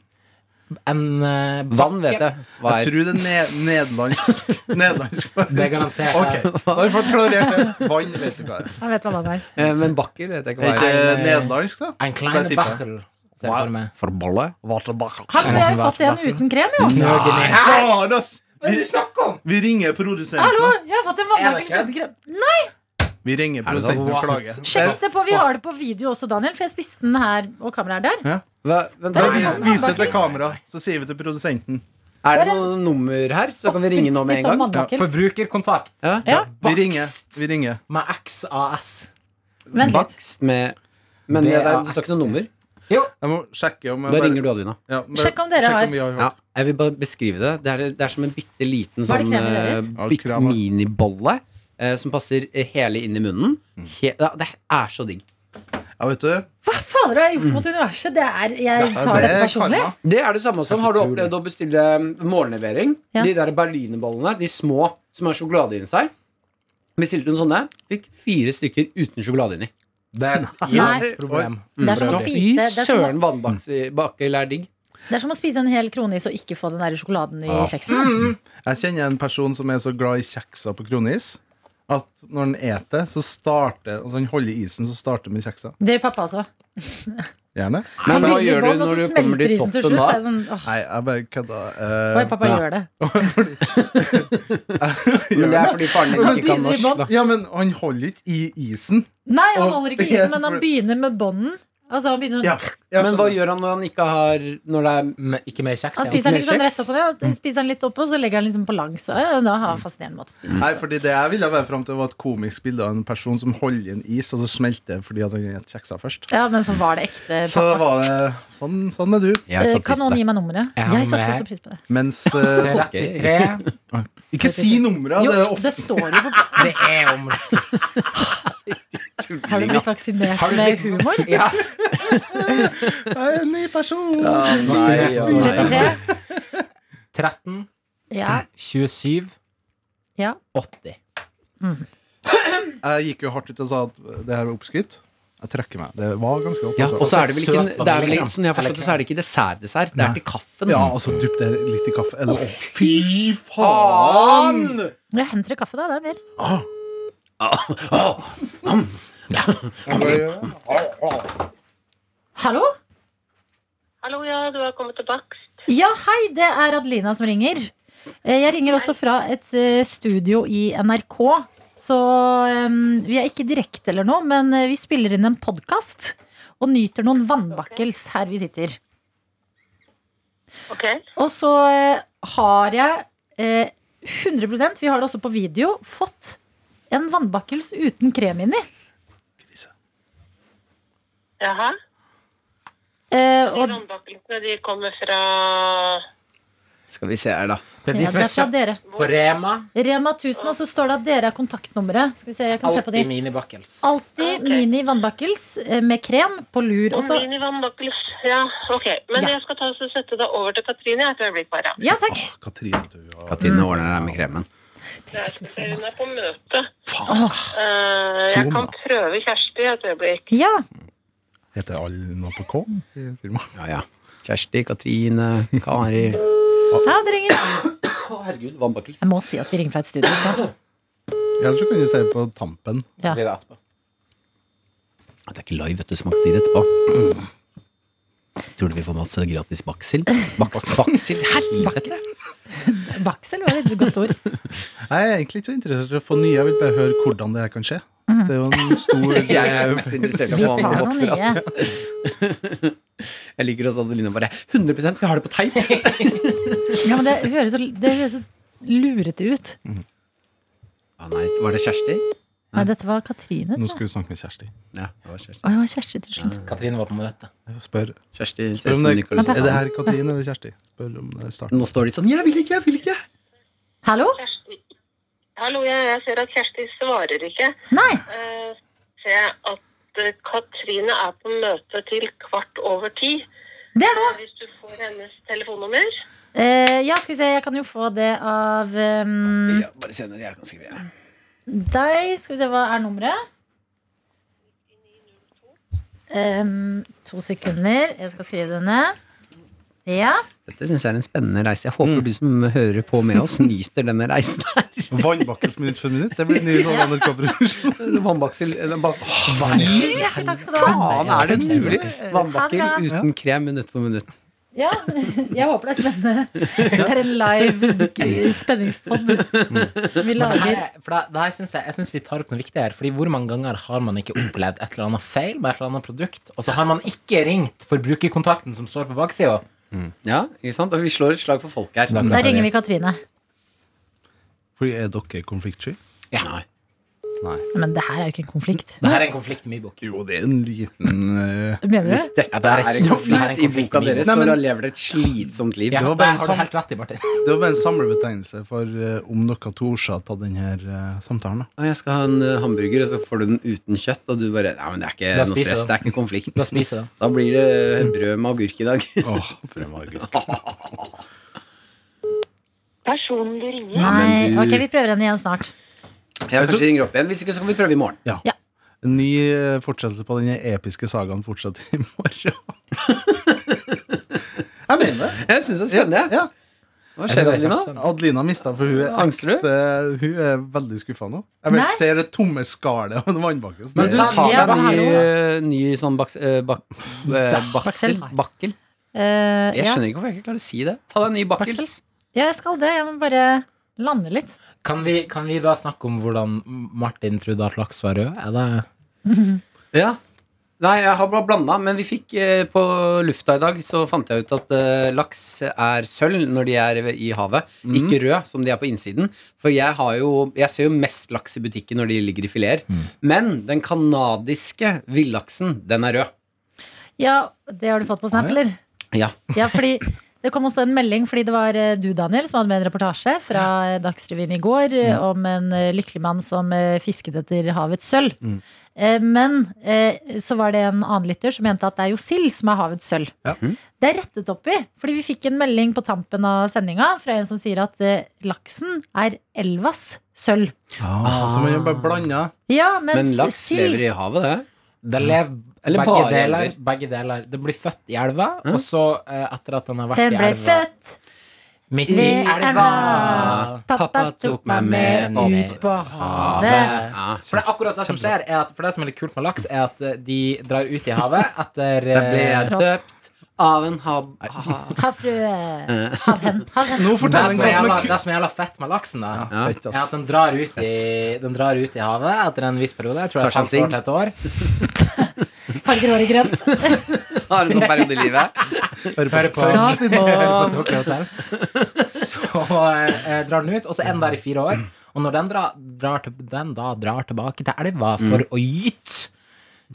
E: En eh,
B: Vann vet
E: bakkel.
B: jeg. Hva
D: Jeg
B: er
D: tror det er ned nederlandsk. nederlandsk.
E: Det er garantert.
D: Ok, da har vi fått klarert det. Vann vet du hva er.
C: Jeg vet hva det er.
B: Eh, Men bakkel vet jeg ikke
D: Er
B: hva
D: ikke
B: er.
E: Nei, nei.
D: nederlandsk, da?
E: En
D: Bare
E: klein
D: tipper.
E: bakkel. Ser jeg
D: Wow.
E: for meg.
B: Forbolle?
C: Har vi har jo fått en uten krem, jo?
E: Nerdene.
D: Faen, ass!
E: Hva er det du snakker om?
D: Vi ringer
C: Hallo,
D: produsenten.
C: jeg har fått en
E: Er det
C: vannbakkelse
E: ikke?
C: uten krem.
D: Vi ringer
E: det sånn
D: produsenten og
E: sant?
D: klager.
C: Sjekk det på. Vi har det på video også, Daniel, for jeg spiste den her, og kameraet er der.
B: Hva, vent,
C: Det er
B: da,
C: ikke
D: Vi-
C: sånn.
D: Vis det til kamera, så sier vi til produsenten.
B: er det noe nummer her? Så kan vi ringe nå med en gang.
C: Oppriktig sånn vannbakkelse.
E: Forbrukerkontakt
B: Ja.
C: Ja,
D: Vi
E: Bakst.
D: ringer. Vi ringer.
E: med XAS.
C: vent litt.
B: Bakst med Men
E: Det
B: det,
E: er-
B: er, det står ikke noe nummer.
D: Jeg må sjekke om jeg
B: Da
D: bare-
B: ringer du Adelina.
D: Ja, men-
C: Sjekk om dere
D: sjekk
C: har.
D: vi har.
B: Ja, jeg vil bare beskrive det. Det er, det er som en bitte liten
C: Var det
B: sånn
C: kremen
B: eh,
C: deres?
D: Ja,
B: bit-
D: kremen.
B: minibolle eh, som passer eh, hele inn i munnen. He ja, det er så digg.
D: Ja, vet du.
C: Hva fader har jeg gjort mot universet? Det er, jeg
D: Ja,
C: tar
D: det
C: dette
D: er
C: personlig.
D: karma.
B: Mm. Det er det samme som Har du
E: utrolig.
B: opplevd å bestille mm, morgenlevering?
C: Ja.
B: De der berlinerbollene, de små som har sjokolade inni seg. Bestilte hun sånne, fikk fire stykker uten sjokolade inni.
E: Det er et
C: Nei.
E: jævlig problem.
C: Det er som å
E: Brødre.
B: Fy
C: spise, det er som å,
B: søren, vannbakkel er digg.
C: det er som å spise en hel krone i så ikke få den der sjokoladen i kjeksen.
D: Jeg kjenner en person som er så glad i kjekser på kronis at når han eter, så starter Altså han holder isen, så starter han med kjekser.
C: Det gjør pappa også.
D: Gjerne.
B: Men hva
C: Veldig
B: gjør
C: godt,
B: du
C: og så
B: når du
C: smelter
B: kommer til
C: isen
B: toppen da?
C: slutt, så er jeg Sånn, åh,
D: Nei, jeg bare kødda.
C: Oi,
D: Eh,
C: pappa gjør det.
B: Men det er fordi faren din ikke kan
C: Begynner i bånn.
B: norsk, da.
D: ja, men han holder ikke i isen.
C: Nei, han
D: Og-
C: holder ikke isen, men han begynner med bånden. Altså, han, begynner,
D: Ja, jeg
B: Men hva
D: skjønner.
B: gjør han når han ikke har Når det er
E: Men ikke mer kjeks.
C: han
E: ja.
C: spiser den litt sånn
B: Med
C: rett opp og ned.
B: Mm.
C: at- Spiser den litt opp, og så legger han liksom på langs. Og, ja, da har han fascinerende måte å spise.
D: Nei, fordi Det jeg ville være fram til, var et komisk bilde av en person som holder i en is, og så smelter det fordi at han spiser kjekser først.
C: Ja, men så var det ekte
D: Så
C: pappa.
D: var det Sånn, sånn er du.
B: Jeg
C: Eh,
B: satt
C: Kan
B: pris på
C: noen gi
B: det.
C: meg nummeret?
E: Jeg har
C: Jeg
E: med
C: satte
E: her.
C: også pris på det.
D: Mens eh,
E: 33.
D: Ikke si numra. Det er
C: Jo,
D: ofte
C: det står jo på
E: Det er om
C: Har du blitt vaksinert med humor?
E: Ja.
D: Jeg er en ny person.
B: Nei, ja, nei.
C: 33?
E: 13,
C: Ja.
E: 27,
C: ja.
E: 80.
D: Jeg gikk jo hardt ut og sa at det her var oppskrytt. Jeg trekker meg. Det var ganske godt.
B: Ja,
D: altså.
B: og så er det vel ikke
E: Søt
B: det er vel,
E: vaniljekrem.
B: Sånn jeg har forstått det, så er det ikke dessert-dessert. Det er til kaffen.
D: Ja, og så dypp det litt i kaffe. Eller, å, fy faen!
B: Faen!
C: Jeg henter kaffe, da. Det er mer. Hallo?
I: Hallo, ja, du har kommet til bakst.
C: Ja, hei, det er Adelina som ringer. Eh, Jeg ringer også fra et eh, studio i NRK. Så em, vi er ikke direkte eller noe, men eh, vi spiller inn en podkast. Og nyter noen vannbakkels her vi sitter.
I: Ok.
C: Og så eh, har jeg eh, 100 vi har det også på video, fått en vannbakkels uten krem inni.
I: Jaha.
C: Eh,
I: De
C: og
I: vannbakkelsene, de kommer fra
B: Skal vi se her, da.
E: Det er de
C: Ja, det
E: som er
C: er fra dere.
E: kjøpt på Rema.
C: Rema 1000, og så står det at dere er kontaktnummeret. Skal vi se, jeg kan se på de.
E: Alltid minibakkels.
C: Alltid
I: Ok.
C: mini vannbakkels eh, med krem på lur også.
I: Mini-vannbakkels. Ja, ok. Men
C: Ja.
I: jeg skal ta og sette deg over til Katrine jeg, et øyeblikk, bare.
C: Ja, takk.
D: Ah, Katrine, du ja.
B: Katrine ordner det med kremen.
I: Det er, hun er på møte.
D: Faen,
I: Eh, jeg
D: Sånn,
I: kan
D: da.
I: prøve Kjersti et øyeblikk.
C: Ja.
D: Heter alle nå på K? i firmaet?
B: Ja, ja. Kjersti, Katrine, Kari Å,
C: ja, det ringer.
B: herregud, vannbakkels.
C: Jeg må si at vi ringer fra et studio. Ikke sant?
D: Ellers så kan du se på tampen.
C: Ja.
E: Sier det etterpå.
B: Det er ikke live, vet du. Smak sier etterpå. Tror du vi får masse gratis baksel? Baks, baksel? Helvete!
C: Baksel var et godt ord.
D: Jeg er egentlig ikke så interessert i å få nye. Jeg vil bare høre hvordan det her kan skje. Det er jo en stor
B: Mhm. Jeg er jo mest interessert i å
C: Vi
B: få
C: tar
B: andre
C: noen
B: bokser,
C: nye.
B: ass. Jeg liker også Adelina bare 100 vi har det på teip!
C: Ja, men det høres så, det høres så lurete ut.
B: Å nei, Var det Kjersti?
C: Nei, dette var Katrine, tror
D: Nå
C: jeg.
D: skal vi snakke med Kjersti.
B: Ja, det var Kjersti.
C: Å, det var Kjersti til slutt.
E: Katrine var på møte.
D: Spør,
B: Kjersti
D: spør om
B: Sesen
D: det
B: Nicholson.
D: er det her Katrine eller Kjersti. Spør om det er starten.
B: Nå står de sånn 'Jeg vil ikke, jeg vil ikke'.
C: Hallo?
I: Kjersti. Hallo, jeg, jeg ser at Kjersti svarer ikke.
C: Nei.
I: Eh, ser jeg at eh, Katrine er på møte til kvart over ti.
C: Det er nå.
I: Hvis du får hennes telefonnummer.
C: Eh, ja, skal vi se. Jeg kan jo få det av ehm,
B: Ja, bare se når jeg kan skrive. ja.
C: deg. Skal vi se, hva er nummeret? Ehm, to sekunder. Jeg skal skrive det ned. Ja.
B: Dette syns jeg er en spennende reise. Jeg håper du som hører på med oss, nyter denne reisen her.
D: Vannbakkens minutt for minutt. Det blir ny sånn NRK-produksjon.
B: Vannbaksel
C: Tusen hjertelig takk skal du ha.
B: Faen, er det mulig?
C: Ha
B: Vannbakkel
C: det
B: uten krem minutt for minutt.
C: Ja, jeg håper det er spennende. Det er en live spenningspod vi
E: Det
C: lager.
E: her, for det, det her synes jeg, jeg synes vi tar opp noe viktig her. Fordi Hvor mange ganger har man ikke opplevd et eller annet feil med et eller annet produkt, og så har man ikke ringt forbrukerkontakten som står på baksida?
B: Ja, ikke sant? Og vi slår et slag for folk her.
C: Da ringer vi Katrine.
D: Fordi er dere konfliktsky?
B: Ja.
C: Men det her er jo ikke en konflikt.
E: Det her er en konflikt i min bok.
D: Jo, det er en liten eh,
C: Mener
B: Hvis
C: du?
B: dette
E: Ja, det er
B: er
E: en
B: en
E: konflikt
B: konflikt i boka
E: min.
B: deres,
D: Nei,
B: så
D: men-
B: lever dere et slitsomt liv.
E: Ja,
D: Det var
E: der
D: bare
E: har du
D: sånn-
E: helt rett i, Martin.
D: Det var bare en samlebetegnelse for eh, om dere to også har tatt denne samtalen. Da.
B: Å, Jeg skal ha en eh, hamburger, og så får du den uten kjøtt, og du bare Nei, men det er
E: Da
B: ikke noe
E: spiser jeg
B: stress,
E: den.
B: det er ikke konflikt.
E: Da spiser jeg den.
B: Da blir det eh, brød med agurk i dag.
D: Åh, prøv, Margit.
I: Personen du ringer.
C: Nei.
B: men du-
C: Ok, vi prøver henne igjen snart.
B: Jeg kanskje ringer opp igjen. Hvis ikke, så kan vi prøve i morgen.
D: En ny eh, fortsettelse på denne episke sagaen fortsetter i morgen. Jeg mener det.
B: Jeg syns det er spennende.
D: Ja.
B: Hva skjer, Adelina?
D: Adelina mista, for hun er,
B: Angster du?
D: ekte- hun er veldig skuffa nå. Jeg
C: Nei.
D: vet, ser det tomme skallet av en vannbakke.
B: Men
D: Men
B: du
E: Ja,
B: tar
C: ja,
B: deg en
C: hva er
B: ny,
C: det
B: eh, ny sånn baks, eh, bak, eh, baksel.
C: Baksel.
B: Bakkel.
C: Eh,
B: Jeg
C: ja.
B: skjønner ikke hvorfor jeg ikke klarer å si det. Ta deg en ny bakkel.
C: Baksel. ja, jeg skal det. Jeg må bare lande litt.
E: Kan vi, kan vi da snakke om hvordan Martin trodde at laks var rød? Er det
B: Ja. Nei, jeg har bare blanda, men vi fikk eh, på lufta i dag, så fant jeg ut at eh, laks er sølv når de er i havet.
C: Mhm.
B: Ikke rød, som de er på innsiden. For jeg, har jo, jeg ser jo mest laks i butikken når de ligger i fileter.
C: Mhm.
B: Men den kanadiske villaksen, den er rød.
C: Ja, det har du fått på Snap,
D: Å, ja.
C: eller?
B: Ja.
C: Ja, fordi det kom også en melding fordi det var eh, du, Daniel, som hadde med en reportasje fra eh, Dagsrevyen i går eh, om en eh, lykkelig mann som eh, fisket etter havets sølv. Eh, Men eh, så var det en annen lytter som mente at det er jo sild som er havets sølv. Mm.
D: Ja.
C: Det er rettet opp i, fordi vi fikk en melding på tampen av sendinga fra en som sier at eh, laksen er elvas sølv.
D: ah, så man er bare blanda.
C: Ja, mens
B: Men laks
C: sild
B: lever i havet, det.
E: Det lever
B: Eller
E: begge,
B: bare
E: deler,
B: elver.
E: begge deler. Det blir født i elva,
B: Mm.
E: og så, eh, etter at den har vært
C: Den
E: i
C: ble
E: elva
C: født
E: Midt i
C: ved
E: elva.
C: elva. Pappa tok meg med ut på havet.
B: Ja.
E: For det er akkurat det som skjer er at, For det som er litt kult med laks, er at eh, de drar ut i havet etter
B: Der ble
E: eh,
B: jeg døpt av en hab... Ha,
C: Havfrue. Havhen. Havhen.
D: Nå
E: det
D: forteller
E: som
D: han hva som
E: er jævla,
D: er
E: det som er jævla fett med laksen, da,
D: Ja, fett,
E: er at
D: ass.
E: den drar ut i, den drar ut i havet etter en viss periode. Jeg tror det er
B: Tarzan
E: et halvt år til et år.
C: Farger håret grønt.
B: har en sånn periode i livet.
E: Hører på,
B: Stop it,
E: på
B: mom.
E: Tokyo Hotel. Så eh, drar den ut, og så er den der i fire år. Og når den, dra, drar, til, den da drar tilbake til elva
D: Mm.
E: for å gyte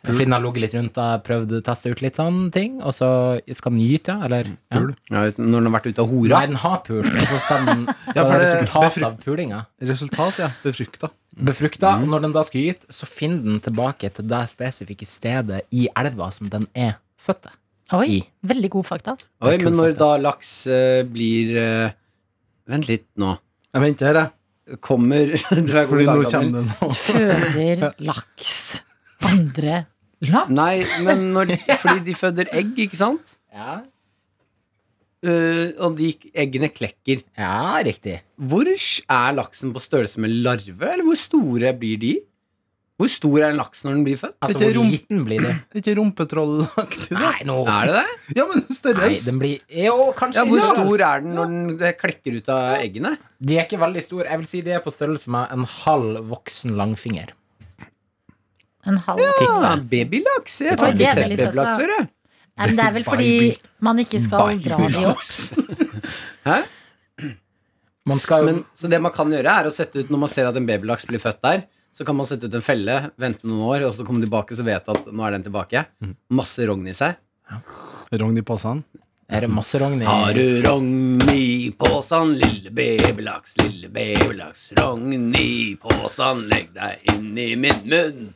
E: Fordi den har ligget litt rundt og prøvd å teste ut litt sånne ting, og så skal den gyte, ja? Eller ja.
B: Ja, vet du, når den har vært ute og hora.
E: Nei, den har pult, og så skal den Så
D: Ja, for
E: er det
D: det-
E: resultat
D: befrukt-
E: av pulinga.
D: Resultat, ja. Befrukta.
E: Befrukta. Og når den da skal gyte, så finner den tilbake til det spesifikke stedet i elva som den er født til.
C: Oi, veldig god fakta.
B: Oi,
E: Det er
B: men
E: kult
B: når
E: fakta.
B: da laks eh, blir eh, Vent litt nå.
D: Jeg venter her, jeg.
B: Kommer Du er god
D: Fordi nå
B: dag, Daniel.
D: kommer det noe.
C: Føder laks andre laks?
B: Nei, men når, fordi de føder egg, ikke sant?
E: Ja,
B: Eh, og de eggene klekker.
E: ja riktig.
B: Hvor s- er laksen på størrelse med larve? Eller hvor store blir de? Hvor stor er en laks når den blir født?
E: Altså,
D: Ikke
E: hvor
D: rom-
E: liten blir det?
D: Det er Ikke rumpetrollaktig, da?
E: Nei, nå
B: Er det det?
D: Ja, men
E: Nei,
D: størrelse.
E: den blir Jo, kanskje
B: Ja, hvor
E: ikke.
B: stor er den når den det klekker ut av eggene?
E: De er ikke veldig store. Jeg vil si de er på størrelse med en halv voksen langfinger.
C: En halv titt.
B: Ja, babylaks. Jeg
C: Oi,
B: har
C: det
B: ikke
C: er
B: sett
C: veldig søtt,
B: babylaks
C: da.
B: før, jeg.
C: Nei, men det er vel fordi man ikke skal dra de opp.
B: Hæ?
E: Man skal jo
B: Men, så det man kan gjøre, er å sette ut når man ser at en babylaks blir født der, så kan man sette ut en felle, vente noen år, og så komme tilbake, så vet du at nå er den tilbake. Masse rogn i seg.
D: Rogn i posen.
E: Er det masse rogn i
B: Har du rogn i posen, lille babylaks, lille babylaks? Rogn i posen, legg deg inn i min munn.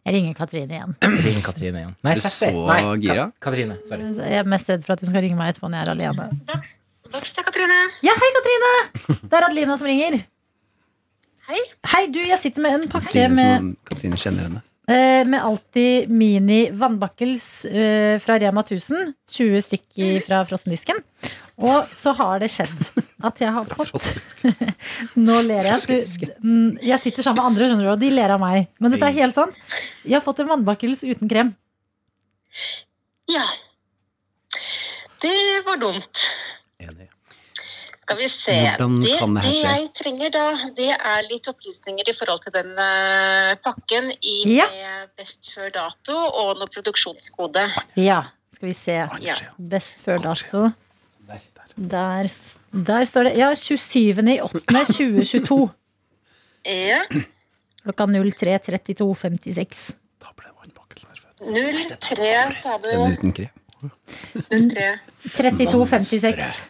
C: Jeg ringer Katrine igjen.
E: Ring Katrine igjen. Nei,
B: Er du
E: Kjersti.
B: så
E: Nei, Ka-
B: gira?
E: Katrine. Sorry.
C: Jeg er mest redd for at hun skal ringe meg etterpå når jeg er alene.
I: Dags, dags til Katrine.
C: Ja, hei, Katrine! Det er Adelina som ringer.
I: Hei.
C: Hei, du, jeg sitter med en pakke
B: Signe
C: med,
B: som Katrine kjenner henne.
C: eh, med Alltid Mini vannbakkels eh, fra Rema 1000. 20 stykk i- fra frosendisken. Og så har det skjedd at jeg har fått Nå ler jeg. Du, mm, jeg sitter sammen med andre, skjønner du, og de ler av meg. Men dette er helt sant. Jeg har fått en vannbakkels uten krem.
I: Ja. Det var dumt. Skal vi se.
B: Hvordan
I: det,
B: kan det her skje?
I: jeg trenger da, det er litt opplysninger i forhold til den eh, pakken i
C: Ja.
I: med best før dato og noe produksjonskode.
C: Ja, skal vi se.
I: Ja.
C: Best før dato. Der, s- der står det Ja, 27.08.2022.
I: Ja.
C: Klokka 03.32.56.
I: 03 sa du.
B: Den uten krem.
I: 03.
C: 32.56.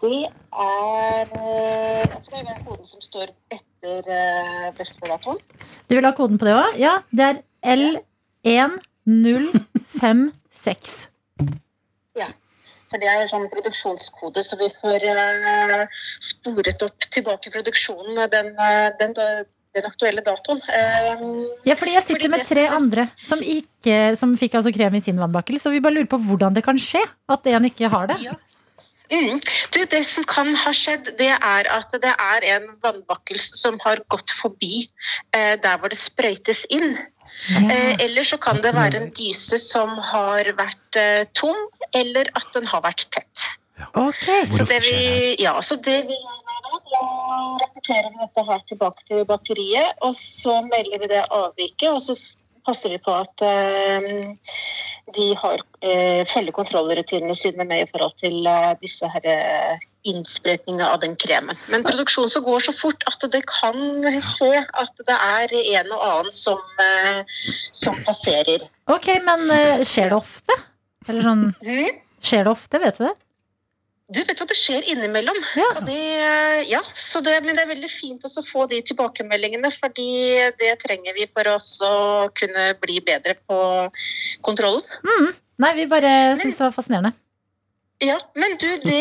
I: Det er eh, Jeg tror det er den koden som står etter eh, best før datoen.
C: Du vil ha koden på det òg? Ja, det er E L1056.
I: For det er sånn produksjonskode, så vi får eh, sporet opp tilbake i produksjonen eh, den, eh, den, da- den aktuelle datoen. Eh,
C: Ja, fordi jeg sitter med tre andre som, ikke, som fikk altså krem i sin vannbakkel, så vi bare lurer på hvordan det kan skje at en ikke har det.
I: mm. Du, det som kan ha skjedd, det er at det er en vannbakkels som har gått forbi eh, der hvor det sprøytes inn. Eh, eller så kan det være en dyse som har vært eh, tom, eller at den har vært tett.
C: Ok.
I: Så det vi, ja, så det vi gjør nå, da, da rapporterer vi dette her tilbake til bakeriet, og så melder vi det avviket, og så s- passer vi på at eh, de har, eh, følger kontrollrutinene sine med i forhold til eh, disse her eh, innsprøytningene av den kremen. Men produksjonen så går så fort at det kan skje at det er en og annen som, eh, som passerer.
C: Ok, men eh, skjer det ofte? Eller sånn
I: Mhm.
C: Skjer det ofte, vet du det?
I: Du vet hva, det skjer innimellom.
C: Ja.
I: Og det, ja, så det, men det er veldig fint også å få de tilbakemeldingene, fordi det trenger vi for oss å kunne bli bedre på kontrollen.
C: Nei, vi bare syns det var fascinerende.
I: Ja, men du, det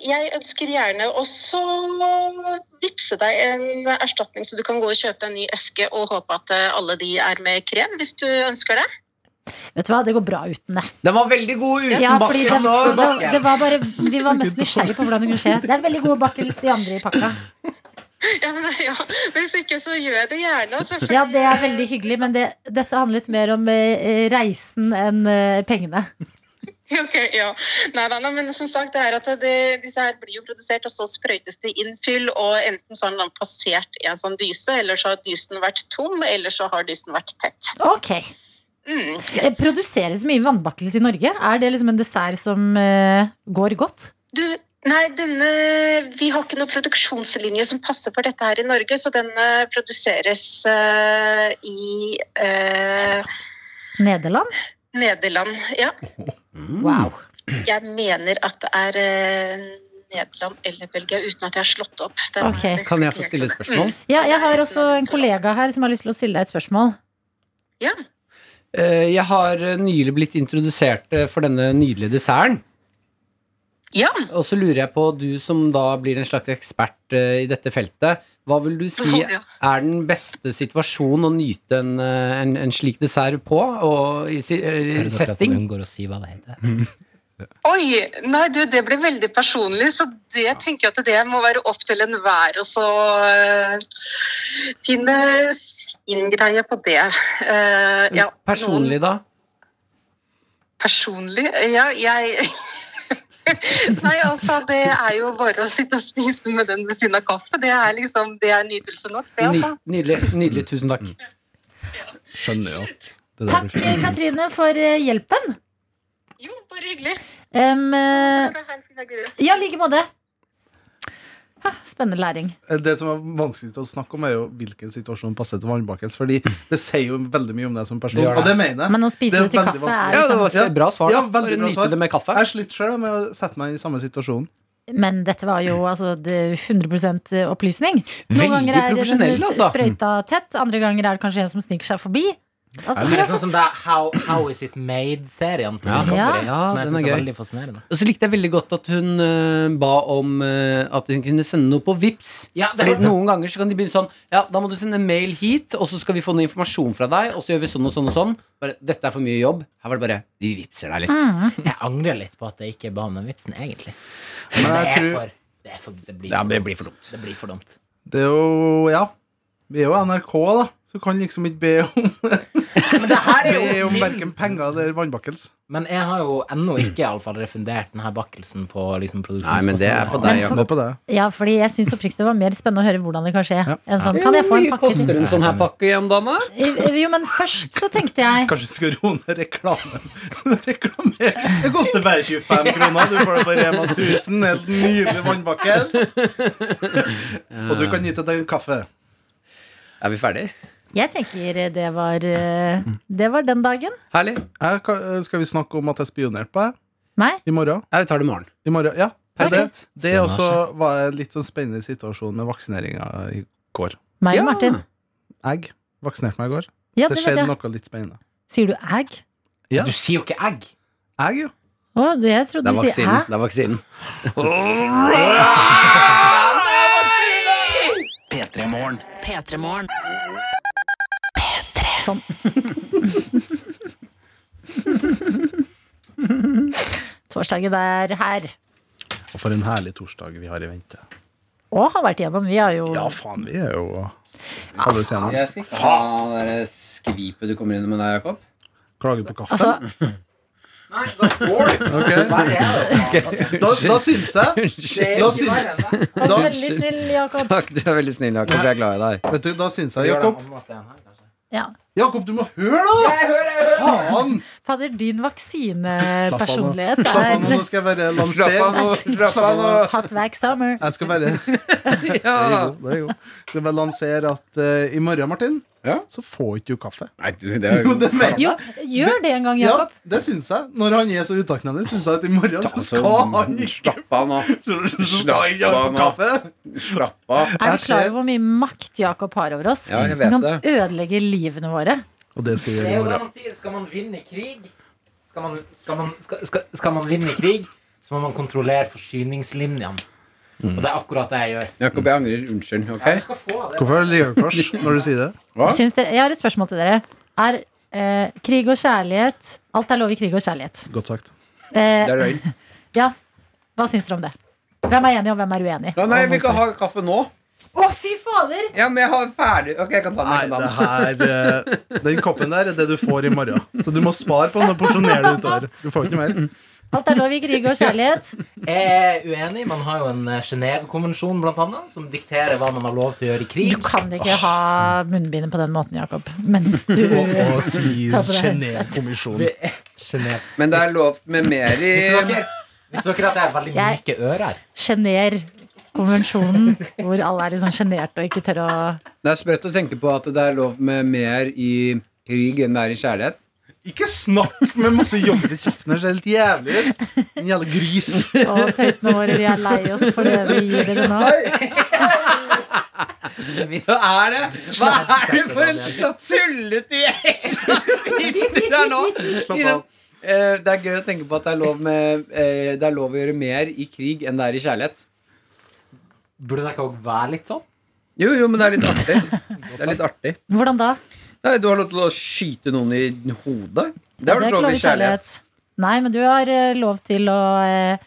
I: Jeg ønsker gjerne også å vippse deg en erstatning, så du kan gå og kjøpe deg en ny eske og håpe at eh, alle de er med krem, hvis du ønsker det.
C: Vet du hva, det går bra uten det.
B: Den var veldig god uten
C: Ja, fordi
B: bakkels
C: det, det,
B: også.
C: var- det var bare, vi var mest nysgjerrige på hvordan det kunne skje. Det er veldig gode bakkels, de andre i pakka.
I: Ja, men, ja, Hvis ikke, så gjør jeg det gjerne. Altså,
C: Ja, det er veldig hyggelig, men det, dette handlet mer om eh, reisen enn eh, pengene.
I: Ok, ja. Nei, nei, nei, men som sagt, det er at det, disse her blir jo produsert, og så sprøytes det inn fyll, og enten så har den passert en sånn dyse, eller så har dysen vært tom, eller så har dysen vært tett.
C: Ok.
I: Mm.
C: Det produseres mye vannbakkels i Norge. Er det liksom en dessert som eh, går godt?
I: Du, nei, denne, vi har ikke noen produksjonslinje som passer for dette her i Norge, så den eh, produseres eh, i eh,
C: Nederland?
I: Nederland. Ja,
B: Mm.
C: Wow.
I: jeg mener at det er eh, Nederland eller Belgia, uten at jeg har slått opp. Den-
C: Ok.
B: Kan jeg få stille et spørsmål?
C: Ja, jeg har også en kollega her som har lyst til å stille deg et spørsmål.
I: Ja.
B: Eh, Jeg har eh, nylig blitt introdusert eh, for denne nydelige desserten.
I: Ja.
B: Og så lurer jeg på, du som da blir en slags ekspert eh, i dette feltet, hva vil du si
I: Ja.
B: er den beste situasjonen å nyte en, eh, en, en slik dessert på, og i si, eh, setting?
E: unngår å si hva det heter.
I: Oi! Nei, du, det ble veldig personlig, så det tenker jeg at det må være opp til enhver å så øh, finne sin greie på det. Eh, ja,
B: Personlig, da?
I: Noen personlig? Ja, jeg Nei, altså, det er jo bare å sitte og spise med den ved siden av kaffe. Det er liksom, det er nytelse nok, det.
B: Ny,
I: Altså.
B: nydelig, nydelig. Tusen takk.
D: Skjønner jo at det der
C: Takk,
D: blir fint.
C: Katrine, for eh, hjelpen.
I: Jo, bare hyggelig.
C: Em, eh,
I: Ha en fin dag videre.
C: ja, i like måte. Ha, Spennende læring.
D: Eh, Det som er vanskelig å snakke om, er jo hvilken situasjon passer til vannbakkels. Fordi det sier jo veldig mye om deg som person.
B: Det gjør det.
D: Og det mener jeg.
C: Men å spise
D: Det er
C: det til
D: veldig
C: kaffe
D: vanskelig.
C: er
B: Ja,
C: det
B: det
C: samme.
B: var bra svar.
D: Ja,
B: da.
D: veldig
B: Bare
D: bra
B: nyte
D: svar.
B: det med kaffe.
D: Jeg sliter sjøl med å sette meg i samme situasjon.
C: Men dette var jo altså det- 100 opplysning.
B: Veldig
C: den
B: profesjonell, altså.
C: sprøyta tett, andre ganger er det kanskje en som sniker seg forbi. Altså,
E: Det er sånn som det er How, How Is It Made-serien på
B: Ja.
E: Discovery,
B: Ja,
E: som jeg
B: den er
E: synes er
B: gøy.
E: veldig fascinerende.
B: Og så likte jeg veldig godt at hun eh, ba om eh, at hun kunne sende noe på Vips
E: Ja, det
B: Fordi
E: var-
B: Noen ganger så kan de begynne sånn Ja, da må du sende en mail hit, og så skal vi få noe informasjon fra deg, og så gjør vi sånn og sånn og sånn. Bare, Dette er for mye jobb. Her var det bare Vi vipser deg litt.
C: Mm.
E: Jeg angrer litt på at jeg ikke ba om den vipsen, egentlig.
D: Men
E: Det
D: jeg
E: er
D: tror
E: for Det, er for, det, blir,
B: Ja,
E: for
B: det blir for dumt.
E: Det blir for dumt.
D: Det er jo Ja. Vi er jo NRK, da. Så kan liksom ikke be om,
E: Men det her er
D: be
E: jo
D: om verken penger eller vannbakkels.
E: Men jeg har jo ennå ikke iallfall refundert denne bakkelsen på liksom
B: Nei, men det er på deg,
D: Det
B: Jakob.
D: er på det.
C: ja, fordi jeg syns oppriktig det var mer spennende å høre hvordan det kan skje. Enn sånn, kan jeg få
B: Hvor
C: en
B: mye
C: pakke
B: koster en sånn her pakke hjem, Danne?
C: til? Jo, men først så tenkte jeg
D: Kanskje du skal roe ned reklamen. Reklamer. Det koster bare 25 kroner. Du får det på Rema 1000. Helt nydelig vannbakkels. Og du kan gi til deg en kaffe.
B: Er vi ferdige?
C: Jeg tenker det var eh, Det var den dagen.
B: Herlig.
D: Jeg, kan- skal vi snakke om at jeg spionerte på deg
C: Meg?
D: i morgen?
B: Ja, vi tar det i morgen.
D: I morgen, ja.
B: Perfekt.
D: Det, det også var en litt sånn spennende situasjon med vaksineringa i går.
C: Meg
B: Ja.
C: og Martin.
D: Jeg vaksinerte meg i går.
C: Ja,
D: Det
C: det vet
D: skjedde
C: jeg.
D: noe litt spennende.
C: Sier du æg?
D: Ja.
E: Du sier jo ikke egg.
D: Jeg, jo.
C: Å, det jeg trodde
B: Det er
C: du sier
B: vaksinen.
C: æ.
B: Det er vaksinen.
H: P3morgen.
A: P3morgen.
C: Sånn. Torsdagen er her.
D: Og for en herlig torsdag vi har i vente.
C: Og har vært igjennom. Vi har jo
D: Ja, faen, vi er jo Alle senere.
B: Jeg skal ikke ha det skvipet du kommer inn med deg, Jakob.
D: Klager på kaffe.
C: Altså,
D: Ok. Da, da syns jeg Da syns,
C: vær
D: da,
C: veldig snill, Jakob.
B: Takk, du er veldig snill, Jakob. Jeg er glad i deg.
D: vet du, da syns jeg Jakob,
C: Ja.
D: Jakob, du må høre, da! Faen!
C: Fader, din
D: Slapp av nå.
C: vaksinepersonlighet
D: Slapp av nå,
C: er
D: nå skal jeg bare lansere
B: Slapp av nå.
C: Hot Wack Summer.
D: Jeg skal bare Det er jo, det er jo. Skal bare lansere at eh, i morgen, Martin,
B: Ja.
D: så får ikke du kaffe.
B: Nei, du, det er
D: Jo, det mener
C: Jo,
D: jeg.
C: gjør det en gang,
D: Ja,
C: Jakob.
D: det syns jeg. Når han er så utakknemlig, syns jeg at i morgen så
B: Altså,
D: skal han ikke
B: slapp av nå.
D: så skal han ikke
B: slapp
D: ha
B: av nå.
D: kaffe.
B: Slapp av.
C: Er
D: Jeg
C: du klar
D: ser-
C: over hvor mye makt Jakob har over oss?
B: Ja, jeg
C: Han
B: vet
C: kan
B: det.
C: ødelegge livene våre.
D: Og det skal vi
E: Det
D: gjøre
E: er
D: i
E: jo det
D: morgen.
E: man sier. Skal man vinne krig, skal man, skal man, skal, skal, skal man vinne krig, så må man kontrollere forsyningslinjene. Og det er akkurat det jeg gjør.
B: Jakob, jeg angrer. Unnskyld. ok?
E: Du skal få det.
D: Hvorfor er det lillekors når du sier det?
B: Hva?
C: Syns dere, jeg har et spørsmål til dere. Er eh, krig og kjærlighet Alt er lov i krig og kjærlighet.
D: Godt sagt.
B: Det
C: Eh,
B: er løgn.
C: ja, hva syns dere om det? Hvem er enig, og hvem er uenig?
B: Nei, nei, vi kan ha kaffe nå.
C: Å, fy fader!
B: Ja, men jeg har ferdig Ok, jeg kan ta den.
D: Nei,
B: Jeg kan
D: det
B: ta den.
D: her eh, Den koppen der er det du får i morgen. Så du må spare på den og porsjonere det utover. Du får ikke mer.
C: Alt er lov i krig og kjærlighet.
E: Jeg er uenig. Man har jo en eh, Genève-konvensjon blant annet, som dikterer hva man har lov til å gjøre i
C: Du
E: krig.
C: kan ikke ha munnbindet på den måten, Jakob. Mens du
D: Og, og si
C: Ta på deg
D: Genévekommisjonen.
E: Genève.
B: Men det er lovt med mer i
E: Visste dere, visste dere at jeg har veldig
C: Jeg-
E: myke ører?
C: sjener konvensjonen, hvor alle er liksom sjenerte og ikke tør å
B: Det er sprøtt å tenke på at det er lov med mer i krig enn det er i kjærlighet.
D: Ikke snakk med masse jobber i kjeften. Det ser helt jævlig ut. En jævla gris.
C: Å, tøytene våre, vi er lei oss for det vi gir dere nå.
B: Hva er det? Hva er det for
E: sånn.
B: en tullete gjeng som sitter her nå?
D: Slapp av.
B: Eh, Det er gøy å tenke på at det er lov, med, eh, det er lov å gjøre mer i krig enn det er i kjærlighet.
E: Burde dere ikke også være litt sånn?
B: Jo, jo, men det er litt artig. Det er litt artig.
C: Hvordan da?
B: Nei, du har lov til å skyte noen i hodet. Det har du
C: Det er
B: ikke lov i kjærlighet.
C: Nei, men du har eh, lov til å eh,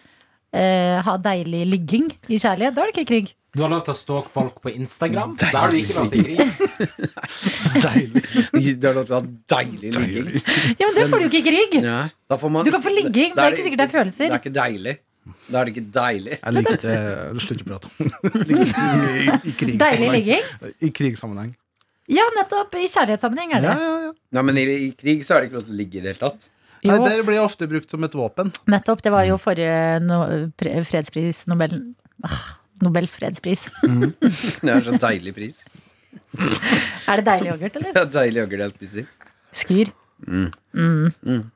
C: eh, ha deilig ligging i kjærlighet. Da er det ikke krig.
E: Du har lov til å stalke folk på Instagram. Da har du ikke lov til krig.
B: Du har lov til å ha deilig ligging.
C: Ja, men det får du jo ikke i krig!
B: Ja, da får man-
C: Du kan få ligging, men det
B: Da
C: er ikke sikkert det er følelser.
B: Det er ikke deilig. Da er det ikke deilig.
D: Jeg liker ikke Slutt å prate om I, i
C: Deilig
B: sånn,
C: ligging.
D: I krigssammenheng.
C: Ja, nettopp. I kjærlighetssammenheng er
D: Ja,
C: det.
D: ja, ja.
B: Nei, men i, i krig så er det ikke lov til å ligge i det hele tatt.
D: Nei,
C: Jo.
D: det blir ofte brukt som et våpen.
C: Nettopp. Det var jo forrige no pre- fredspris, Nobel ah, Nobels fredspris.
B: Det er så deilig pris.
C: Er det deilig yoghurt, eller?
B: Det er deilig yoghurt jeg spiser.
C: Skyr. Mm.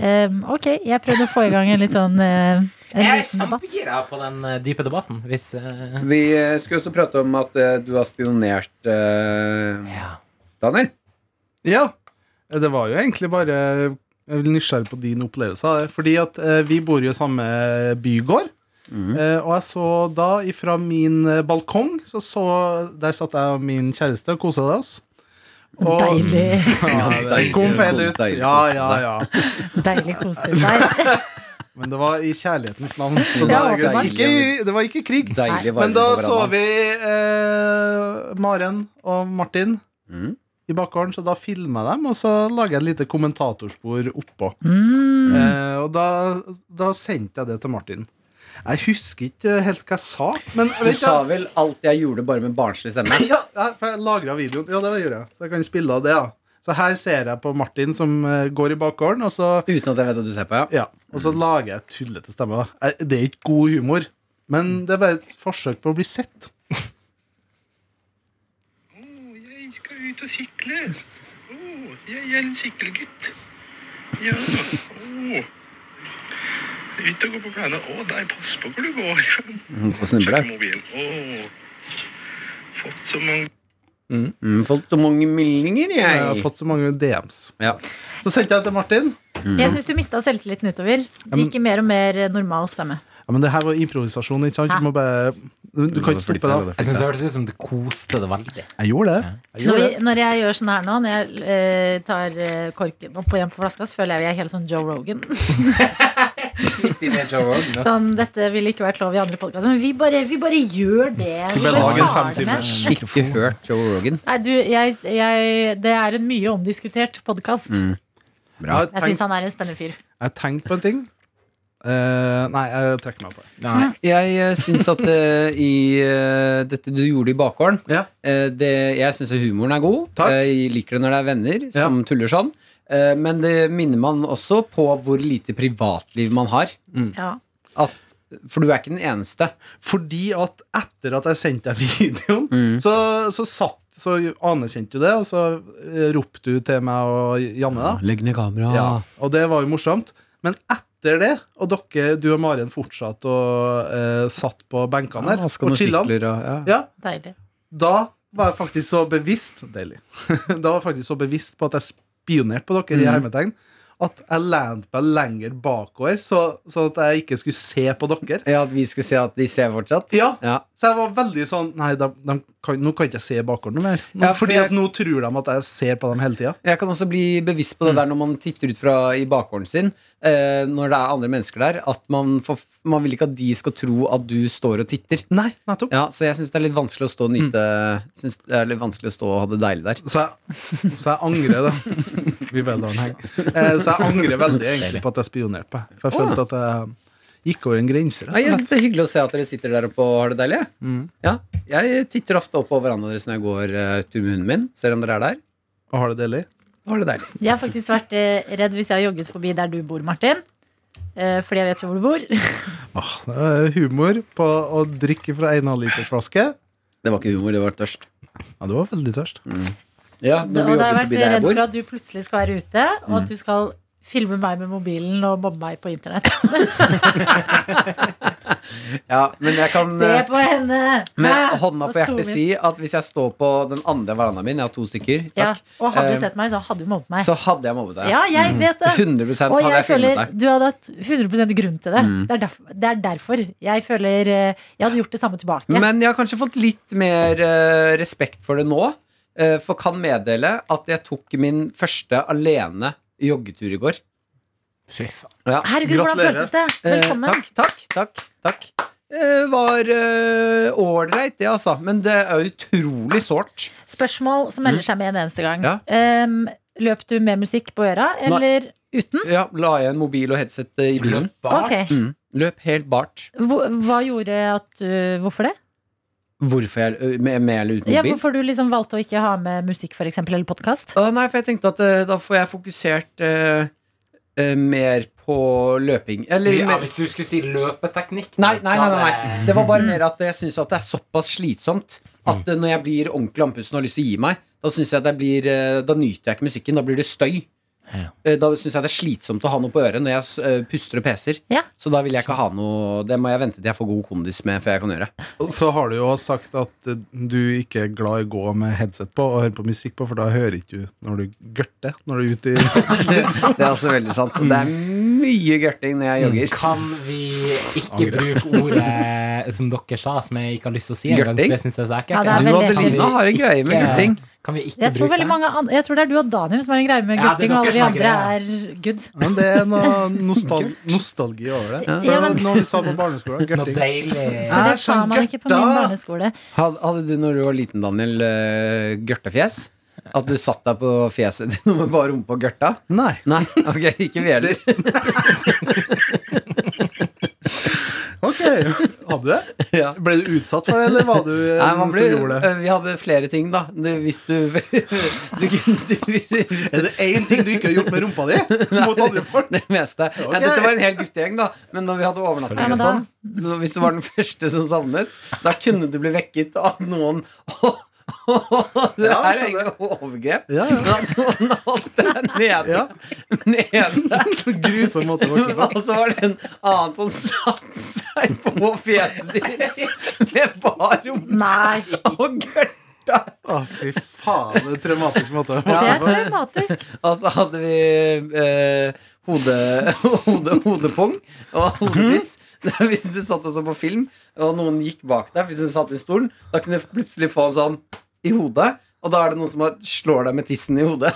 C: Eh, ok, jeg prøvde å få i gang en litt sånn eh, en
E: Jeg er
C: liten debatt.
E: kjempegira på den eh, dype debatten, hvis eh,
B: Vi eh, skulle også prate om at eh, du har spionert eh,
E: ja.
B: Daniel.
D: Ja. Eh, Det var jo egentlig bare Jeg vil nysgjerrig på din opplevelse av det. Fordi at eh, vi bor jo i samme bygård.
B: Mhm.
D: Eh, og jeg så da ifra min eh, balkong så så, Der satt jeg og min kjæreste og kosa oss. Og-
C: Deilig,
D: Ja, det
B: Deilig,
D: kom feil
B: deilig,
D: ut.
B: deilig altså.
D: Ja,
B: koste
D: ja,
B: seg.
D: ja.
C: deilig koselig. Nei,
D: Men det var i kjærlighetens navn.
B: Ja,
D: Så da, det, var altså
B: deilig.
D: ikke, det var ikke krig.
B: Deilig varme
D: Men da
B: på
D: så
B: verandaen.
D: vi eh, Maren og Martin
B: Mm.
D: i bakgården, så da filma jeg dem, og så lager jeg et lite kommentatorspor oppå. Eh, og da, da sendte jeg det til Martin. Jeg husker ikke helt hva jeg sa, men
B: Du
D: vet
B: sa vel alt jeg gjorde bare med barnslig stemme?
D: ja, ja, for jeg lagra videoen. Ja, det gjorde jeg. Så jeg kan spille av det, ja. Så her ser jeg på Martin som eh, går i bakgården, og så
B: Uten at jeg vet at du ser på, ja.
D: ja, og
B: Mm.
D: så lager jeg tullete stemmer. da. Eh, Det er ikke god humor, men det er bare et forsøk på å bli sett.
J: Jeg skal ut og sykle. Åh, jeg er en sykkelgutt. Ja. åh. Ut og gå på plenen. Å, nei, pass på hvor du går.
B: På
J: Sjekke
B: snubler.
J: mobilen. Åh. Fått så mange
B: Mm, fått så mange meldinger, jeg.
D: Jeg har fått så mange DMs.
B: Ja.
D: Så sendte jeg til Martin.
C: jeg syns du mista selvtilliten utover. Det gikk i mer og mer eh, normal stemme.
D: Ja, men det her var improvisasjon, ikke sant? Du, må bare, du, du kan ikke slippe det.
E: Jeg syns det hørtes ut som du koste det veldig.
D: Jeg gjorde det. Jeg
C: Når,
D: gjorde
C: vi,
D: det.
C: når jeg gjør sånn her nå, når jeg eh, tar eh, korken opp og hjem på flaska, så føler jeg vi er helt sånn Joe Rogan. Sånn, dette ville ikke vært lov i andre podkaster, men vi bare, vi bare gjør det.
D: Skal
C: Vi
D: vi
C: bare
D: lage en
C: tar det med.
D: femtimers
B: Ikke hørt Joe Rogan.
C: Nei, du, jeg, jeg, det er en mye omdiskutert podkast.
D: Mm. Jeg har
C: Jeg syns
D: tenkt-
C: han er en spennende fyr.
D: jeg har tenkt på en ting. Eh, nei, jeg trekker meg på det.
B: Jeg uh, syns at eh, i eh, dette du gjorde i bakgården
D: Ja.
B: eh, det, Jeg syns humoren er god.
D: Takk.
B: Eh, jeg liker det når det er venner
D: Ja.
B: som tuller sånn. Eh, men det minner man også på hvor lite privatliv man har.
C: Ja.
B: At, for du er ikke den eneste.
D: Fordi at etter at jeg sendte deg videoen,
C: Mm.
D: så, så, satt, så anerkjente du det, og så eh, ropte du til meg og Janne, da.
B: Legg ned kameraet.
D: Ja, og det var jo morsomt. Men etter det, og dere, du og Maren fortsatte og eh, satt på benkene der og chillan,
B: ja.
D: ja,
C: Deilig.
D: da var jeg faktisk så bevisst Deilig. da var jeg faktisk så bevisst på at jeg spionerte på dere i
B: Mm.
D: hermetegn, at jeg lente meg lenger bakover, så, sånn at jeg ikke skulle se på dere.
B: ja, at vi skulle se at de ser fortsatt?
D: Ja.
B: ja.
D: Så jeg var veldig sånn Nei, de, de kan, nå kan jeg ikke se bakover noe mer.
B: Ja, for
D: fordi
B: jeg-
D: at nå tror de at jeg ser på dem hele tida.
B: Jeg kan også bli bevisst på det der når man titter ut fra i bakgården sin, eh, når det er andre mennesker der, at man, får, man vil ikke at de skal tro at du står og titter.
D: Nei, nettopp.
B: Ja, Så jeg syns det er litt vanskelig å stå og nyte Synes det er litt vanskelig å stå og ha det deilig der.
D: Så jeg, så jeg angrer det. Vi bare lar den henge. Eh, Så jeg angrer veldig egentlig på at jeg spionerte på deg. For jeg følte at jeg gikk over en grense. rett
B: Nei,
D: og
B: jeg
D: slett.
B: syns det er hyggelig å se at dere sitter der oppe og har det deilig. jeg. Ja, Jeg titter ofte opp på verandaen deres når jeg går eh, tur med hunden min, ser om dere er der.
D: Og har det deilig.
B: Og har det deilig.
C: Jeg har faktisk vært eh, redd hvis jeg har jogget forbi der du bor, Martin. Eh, fordi jeg vet jo hvor du bor.
D: Åh, det er humor på å drikke fra en halvlitersflaske.
B: Det var ikke humor, det var tørst.
D: Ja, du var veldig tørst.
B: Ja,
C: Og
B: når
C: da
B: du
C: har jeg
B: jogger
C: vært
B: forbi der jeg
C: redd for
B: bor. Mm.
C: at du plutselig skal være ute, og at du skal filme meg med mobilen og mobbe meg på internett.
B: Ja, men jeg kan
C: Se
B: eh,
C: på henne!
B: med
C: Hæ?
B: hånda
C: Og
B: på hjertet
C: zoom inn.
B: si at hvis jeg står på den andre verandaen min, jeg har to stykker,
C: ja.
B: takk,
C: Og hadde
B: Eh,
C: du sett meg, så hadde du mobbet meg.
B: så hadde jeg mobbet deg.
C: Ja, jeg vet det.
B: 100
C: Og
B: hadde
C: jeg
B: jeg filmet
C: føler
B: deg. Mm.
C: du hadde hatt 100 grunn til det. Det, er derfor, det er derfor. Jeg føler eh, Jeg hadde gjort det samme tilbake.
B: Men jeg har kanskje fått litt mer eh, respekt for det nå. eh, for kan meddele at jeg tok min første alene joggetur i går.
C: Herregud, hvordan
D: Gratulerer.
C: føltes det?
B: Eh,
C: Velkommen.
B: takk, takk, takk, takk. Eh, var eh, ålreit, det, altså. Men det er utrolig sårt.
C: Spørsmål som melder seg med en eneste gang.
B: Ja.
C: Ehm, løp du med musikk på øra, eller uten?
B: Ja, la jeg en mobil og headset eh, i bilen.
C: Ok.
B: Mm. Løp helt bart.
C: Hvor, hva gjorde at du Hvorfor det?
B: Hvorfor jeg eh, med, med eller uten
C: Ja,
B: mobil?
C: hvorfor du liksom valgte å ikke ha med musikk, for eksempel, eller podkast?
B: øh, Å, nei, for jeg tenkte at eh, da får jeg fokusert eh, eh, mer på løping. Eller
E: Ja,
B: mer
E: hvis du skulle si løpeteknikk
B: Nei, nei, nei, nei,
E: da,
B: nei. Det var bare mer at jeg syns at det er såpass slitsomt at eh, når jeg blir ordentlig andpusten og har lyst til å gi meg, da synes jeg at jeg blir eh, Da nyter jeg ikke musikken. Da blir det støy. Eh, Da syns jeg det er slitsomt å ha noe på øret når jeg s- eh, puster og peser.
C: Ja.
B: Så da vil jeg ikke ha noe Det må jeg vente til jeg får god kondis med før jeg kan gjøre.
D: Og Så har du jo også sagt at eh, du ikke er glad i å gå med headset på og høre på musikk på, for da hører ikke du når du gørter når du er ute i
B: Det er også veldig sant. Det er mye gørting når jeg jogger.
E: Kan vi ikke
D: Angre.
E: bruke ordet som dere sa, som jeg ikke har lyst til å si engang?
B: Gørting?
E: For jeg synes det er så
C: Ja,
E: ekkelt.
C: det er
B: Du
C: veldig
B: Adelina
E: ekkelt.
B: har en greie med
E: Ikke-
B: gørting.
E: Kan vi ikke
C: Jeg tror,
E: bruke
C: veldig
E: det?
C: mange andre, jeg tror det er du og Daniel som har en greie med
E: Ja, det
C: gutting,
E: er
C: og alle de
E: dere som
C: andre
E: har
C: er good.
D: Men det er noe nostal nostalgi over det. Det
C: Ja,
D: var
C: men-
D: noe vi sa på barneskolen.
E: Noe
D: Gørting.
E: deilig
C: Så det
D: Jeg
C: sa man
D: skjønner
C: ikke på min
D: da.
C: barneskole.
B: Had- Hadde du når du var liten, Daniel, eh, gørtefjes? At du satt deg på fjeset ditt med bare rumpa og gørta?
D: Nei.
B: Nei, ok, ikke vi heller.
D: Ok, hadde du det?
B: Ja.
D: Ble du utsatt for det, eller var du eh,
B: Nei, man
D: som
B: blir-
D: gjorde det?
B: vi hadde flere ting, da. Det, hvis du, du, kunne- du hvis
D: Er det én ting du ikke har gjort med rumpa di mot andre folk?
B: det meste. Nei,
D: Ok.
B: dette var en hel guttegjeng, da. Men når vi hadde
C: Ja,
B: overnatting
C: men
B: og
C: da-
B: sånn, så hvis du var den første som savnet, da kunne du bli vekket av noen Det
D: Ja,
B: er
D: jeg skjønner.
B: egentlig overgrep.
D: Ja,
B: Men at noen holdt deg nede.
D: ja.
B: nede.
D: Grusom måte å vokse på.
B: Og så var det en annen som satte seg på fjeset ditt med bar rumpe
C: Nei,
B: og gørta.
D: Å, fy faen, det er en traumatisk måte å
C: det
D: vokse
C: er
D: på.
C: traumatisk.
B: Og så hadde vi eh, hode, hode, hodepung og hodefiss. Hvis du satt også på film, og noen gikk bak deg, hvis du satt i stolen, da kunne du plutselig få en sånn i hodet. Og da er det noen som har- slår deg med tissen i hodet.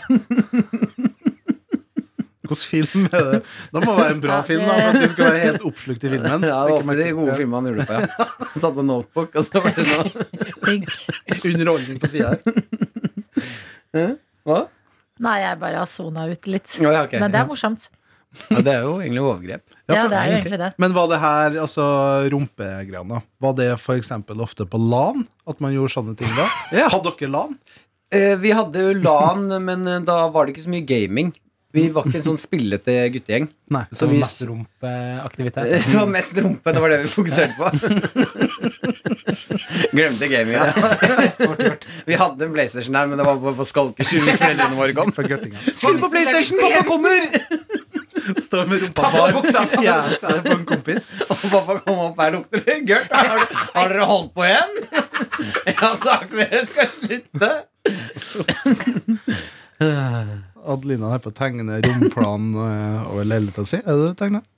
D: Hvilken film er det? Da må det være en bra film, da, for at du skal være helt oppslukt i filmen.
B: Ja, det var ofte de
D: Ikke
B: gode
D: merke-
B: filmene han gjorde det på. Ja. Satt med notebook, og så var det noe
C: Digg.
D: Underholdning på sida her.
B: Hva?
C: Nei, jeg bare har sona ut litt.
B: Ja, ok.
C: Men det er morsomt.
B: Ja, det er jo egentlig overgrep.
C: Ja,
D: for-
C: det er jo egentlig det.
D: Men var det her, altså rumpegreiene, var det f.eks. ofte på LAN? At man gjorde sånne ting da?
B: Ja.
D: Hadde dere LAN?
B: Eh, Vi hadde jo LAN, men eh, da var det ikke så mye gaming. Vi var ikke en sånn spillete guttegjeng.
D: Nei.
B: Så vi,
E: Masse rumpeaktivitet.
B: det var mest rumpe, det var det vi fokuserte på. Glemte gaminga. Vi hadde en PlayStation der, men det var bare på skalkeskjul hvis foreldrene våre kom.
D: For gørtinga.
B: Skru på PlayStation, pappa kommer!
D: Står med rumpa bar i fjeset på en kompis.
B: Og pappa kom opp her, lukter det gørt? Har, har dere holdt på igjen? Jeg har sagt dere skal slutte.
D: Adelina er på å tegne romplanen eh, over leiligheta si. Er det det du tegner?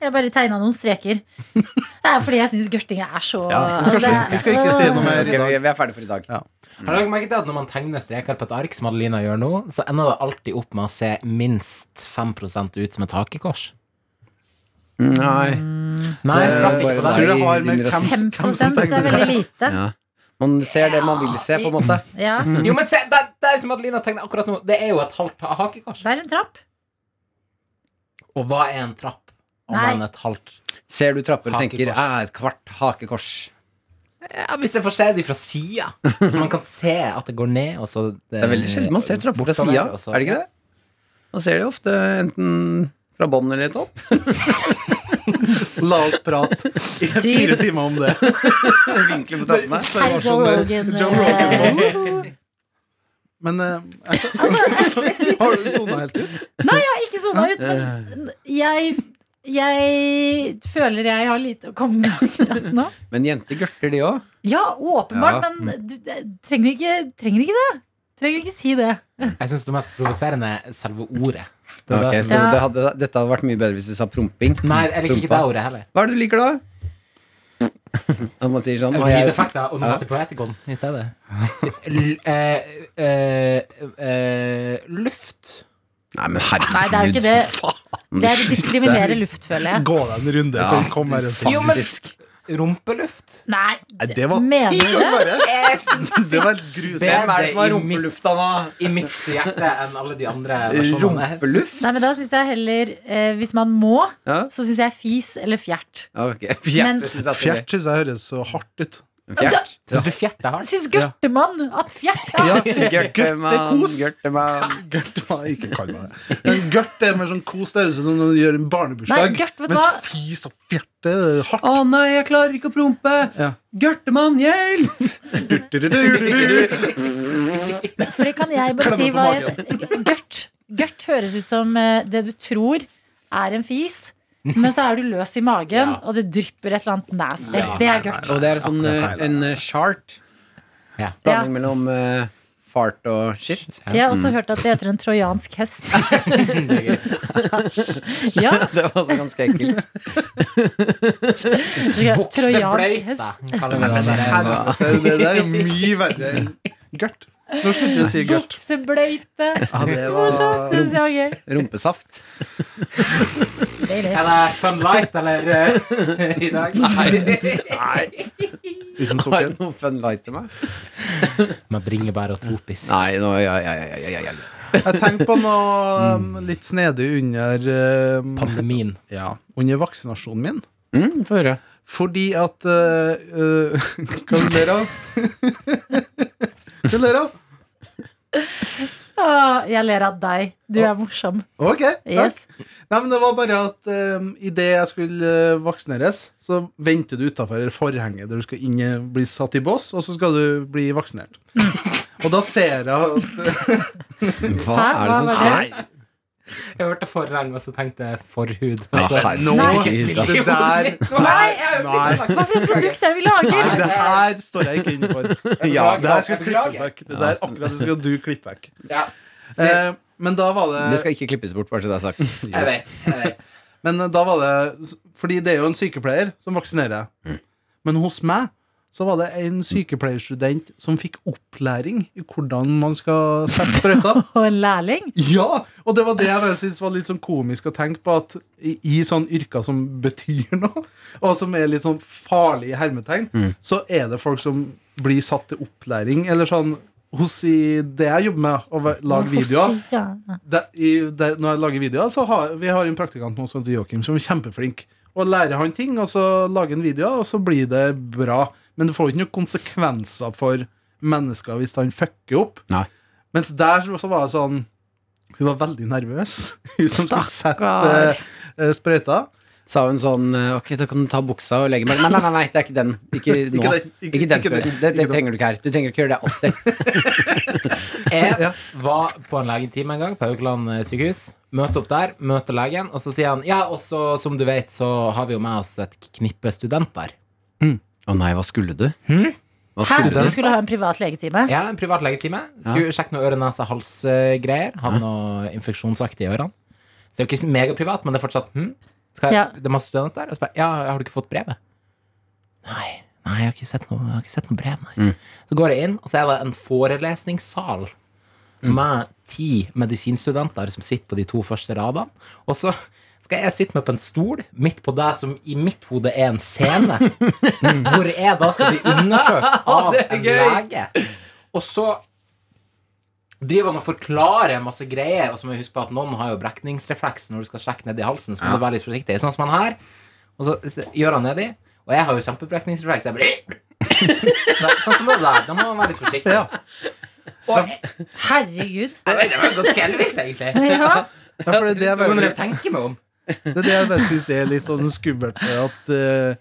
C: Jeg bare tegna noen streker. Det er fordi jeg syns gørting er så
D: vi, skal
C: det-
D: slutte. vi skal ikke si noe
B: Ok,
D: mer i
B: vi,
D: dag.
B: vi er ferdige for i dag.
E: Har dere merket at når man tegner streker på et ark, som Adelina gjør nå, så ender det alltid opp med å se minst 5 ut som et hakekors?
B: Nei.
E: Nei,
B: Det er
E: traff ikke
B: bare deg.
D: Jeg
E: på deg.
D: tror det har med
B: Din
D: hvem,
B: rasist.
D: hvem
C: 5
D: som
C: er
D: tegner.
C: veldig lite.
B: Ja. Man ser det man vil se, på en måte.
C: Ja,
E: Jo, men se, det, det er som Adelina tegner akkurat nå. Det er jo et halvt ha- hakekors.
C: Det er en trapp.
E: Og hva er en trapp? Om
C: Nei.
E: enn et halvt
B: Ser du trapper og
E: Hakekors.
B: tenker «Ah, et kvart hakekors.
E: Ja, Hvis jeg får se de fra sida, så man kan se at det går ned. Og så eh,
B: Det er veldig sjelden man ser trapper fra sida,
E: altså.
B: er det ikke det? Man ser det ofte enten fra bånn eller topp.
D: La oss prate i fire timer om det.
B: Vinkler på trappene.
C: Hei, Joe
D: sånn
C: Rogan. eh,
D: Men eh, jeg- Har du sona helt ut?
C: Ikke sona ut, men jeg jeg føler jeg har lite å komme med akkurat nå.
B: Men jenter gørter, de òg.
C: Ja, åpenbart,
B: Ja.
C: men du eh, trenger ikke, trenger ikke det. Trenger ikke si det.
E: Jeg syns det mest provoserende er selve ordet. Det er
B: Ok,
E: det
B: så
E: som,
C: Ja.
B: det hadde, dette hadde vært mye bedre hvis du sa promping.
E: nei, jeg liker ikke det
B: Prompa.
E: ordet heller.
B: Hva er det du liker, da? At man sier sånn og
E: Gi
B: jeg,
E: det fakta og noe til poetikon i stedet. L eh, eh, eh, luft.
B: Nei, men herregud.
C: Nei, det er jo ikke det.
B: faen,
C: Det er å
B: slutt.
C: diskriminere luft, føler jeg.
D: Gå deg en runde.
B: Ja.
D: Kom her og si.
E: Jo, men rumpeluft
C: Nei,
D: Nei, det var
C: mener
D: ti
C: du
D: år
C: det?
D: bare.
E: Jeg syns
D: Det var helt grusomt.
B: Hvem er det som har rumpelufta nå?
E: i mitt hjerte enn alle de andre versjonene.
B: Rumpeluft?
C: Nei, men da syns jeg heller eh, Hvis man må,
B: Ja,
C: så syns jeg fis eller fjert.
B: ok.
C: Men-
B: Fjert, synes jeg er stilig.
D: Fjert syns jeg høres så hardt ut.
B: Fjert.
E: Syns du fjert er hardt?
C: Syns Gørtemann at fjert er hardt?
B: Gørtemann, Gørtemann.
D: Gørt var ikke kall meg det. Men gørt er mer sånn kos. Det høres ut som når du gjør en barnebursdag.
C: Nei, gørt, vet du hva?
D: mens fis og fjerte er hardt.
B: Å nei, jeg klarer ikke å prompe!
D: Ja.
B: Gørtemann, hjelp!
C: Fordi kan jeg bare si
D: Klemmer på
C: hva jeg Gørt. Gørt høres ut som eh, det du tror er en fis, men så er du løs i magen, og det drypper et eller annet nasty. det er gørt.
B: Og det er sånn, eh, en eh, chart.
E: Ja.
B: Blanding mellom eh, fart og shit.
E: Ja.
C: Jeg har også hørt at det heter en trojansk hest. ja,
B: Det var også ganske ekkelt.
C: trojansk hest.
E: Buksebleita, kaller vi det der.
D: Helvete, det der er jo mye verre enn gørt. Nå slutter jeg å si gørt.
C: Buksebleite.
D: Ja, det
C: Morsomt. Det synes jeg var gøy.
B: Rumpesaft.
C: Deilig.
E: Er det fun light, eller? eh, I dag?
D: Uten
B: Har
D: sukker.
B: du noe fun light til meg?
E: Med bringebær og tropisk.
B: Nei, nå, ja, ja, ja, ja, ja, ja.
D: Jeg tenker på noe um, litt snedig under um,
E: Pandemien.
D: ja, Under vaksinasjonen min.
B: Mm, Få høre.
D: Fordi at uh, uh, Hva ler du av? Hva ler du av?
C: Å, Jeg ler av deg. Du er morsom.
D: Ok, takk.
C: Yes.
D: Nei, men det var bare at um, idet jeg skulle eh, vaksineres, så venter du utafor forhenget der du skal inn, eh, bli satt i bås, og så skal du bli vaksinert. og da ser jeg at
B: Hva er
C: Hæ?
B: det som
C: Hva var
B: skjer?
C: det?
E: Jeg hørte forrang, og så tenkte jeg forhud.
B: Ja,
E: Altså,
B: herregud,
D: nå-
B: ass.
D: det der
E: Nei,
D: Nei,
C: Hva for et produkt er det vi lager?
D: det her står jeg ikke inne for.
B: Ja,
D: Det her skal klippes
E: Jeg beklager.
D: vekk. Det der akkurat det skal du klippe vekk.
E: Ja.
D: Eh, men da var det,
B: Det skal ikke klippes bort, bare så det er sagt.
E: jeg vet. jeg vet
D: Men da var det Fordi det er jo en sykepleier som vaksinerer. Men hos meg så var det en sykepleierstudent som fikk opplæring i hvordan man skal sette sprøyta.
C: Og en lærling?
D: Ja! Og det var det jeg bare syntes var litt sånn komisk å tenke på. At i, i sånne yrker som betyr noe, og som er litt sånn farlige i hermetegn, så er det folk som blir satt til opplæring. Eller sånn hos i det jeg jobber med, å være- lage videoer
C: Ja.
D: det, i, det, når jeg lager videoer, så har vi har en praktikant nå som heter Joakim, som er kjempeflink. Og lærer han ting, og så lager han videoer, og så blir det bra. Men det får jo ikke noen konsekvenser for mennesker hvis han fucker opp.
B: Nei.
D: Mens der så, så var det sånn Hun var veldig nervøs, hun som skulle sette
C: Stakkar.
D: eh, sprøyta.
B: Sa hun sånn eh, Ok, da kan du ta buksa og legge meg Nei, nei, nei, nei, det er ikke den. Ikke nå.
D: Ikke den, ikke-
B: Ikke den.
D: ikke
B: som-
D: den,
B: Det, det
D: ikke den.
B: trenger du ikke her. Du trenger ikke gjøre det alltid.
E: Jeg var på en legetime en gang på Haukeland eh, sykehus. Møte opp der, møte legen, og så sier han ja, og så som du vet, så har vi jo med oss et knippe studenter.
B: Å nei, hva skulle du?
D: Hmm?
B: Hva
C: Hæ?
B: skulle
C: Du
B: du?
C: skulle ha en privat legetime?
E: Ja, en privat legetime. Skulle sjekke noe øre-nese-hals-greier. eh, Hadde noe infeksjonsaktig i ørene. Så det er jo ikke megaprivat, men det er fortsatt hm? Skal jeg,
C: Ja.
E: Det er masse studenter der. Og så bare, ja, har du ikke fått brevet? Nei. Nei, jeg har ikke sett noe, jeg har ikke sett noe brev, nei.
B: Mm.
E: Så går jeg inn, og så er det en forelesningssal
B: Mm.
E: med ti medisinstudenter som sitter på de to første radene. Og så skal jeg sitte meg på en stol midt på det som i mitt hode er en scene, hvor jeg da skal bli undersøkt av
B: Det er
E: en
B: gøy!
E: lege. Og så driver han og forklarer masse greier, og så må vi huske på at noen har jo brekningsrefleks når du skal sjekke ned i halsen, så må du være litt forsiktig. Sånn som han her. Og så s- gjør han nedi, og jeg har jo kjempebrekningsrefleks. så Jeg bare Nei, Sånn som det der. Da må man være litt forsiktig.
D: Ja.
E: Og
C: Herregud.
E: Nei, det var godt skjelvilt, egentlig.
C: Ja.
D: Ja, for det, er det, jeg
E: Men
D: bare,
E: jeg tenker meg om.
D: det er det jeg bare syns er litt sånn skummelt. er At eh,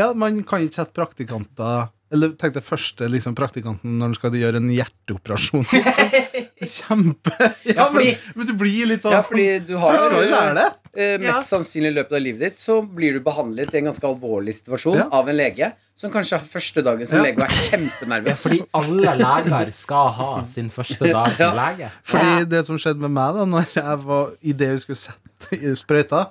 D: ja, man kan ikke sette praktikanter Eller tenk deg første liksom, praktikanten når han skal gjøre en hjerteoperasjon. Liksom. Kjempe Ja, men,
E: fordi-
D: men du blir litt sånn
B: Ja, fordi du har
D: Først skal du lære det.
B: Eh, mest sannsynlig i løpet av livet ditt så blir du behandlet i en ganske alvorlig situasjon
D: Ja.
B: av en lege som kanskje har første dagen som
D: Ja.
B: lege og er kjempenervøs.
E: Fordi alle leger skal ha sin første dag som lege.
D: Fordi
C: Ja.
D: det som skjedde med meg da Når jeg var i det vi skulle sette i sprøyta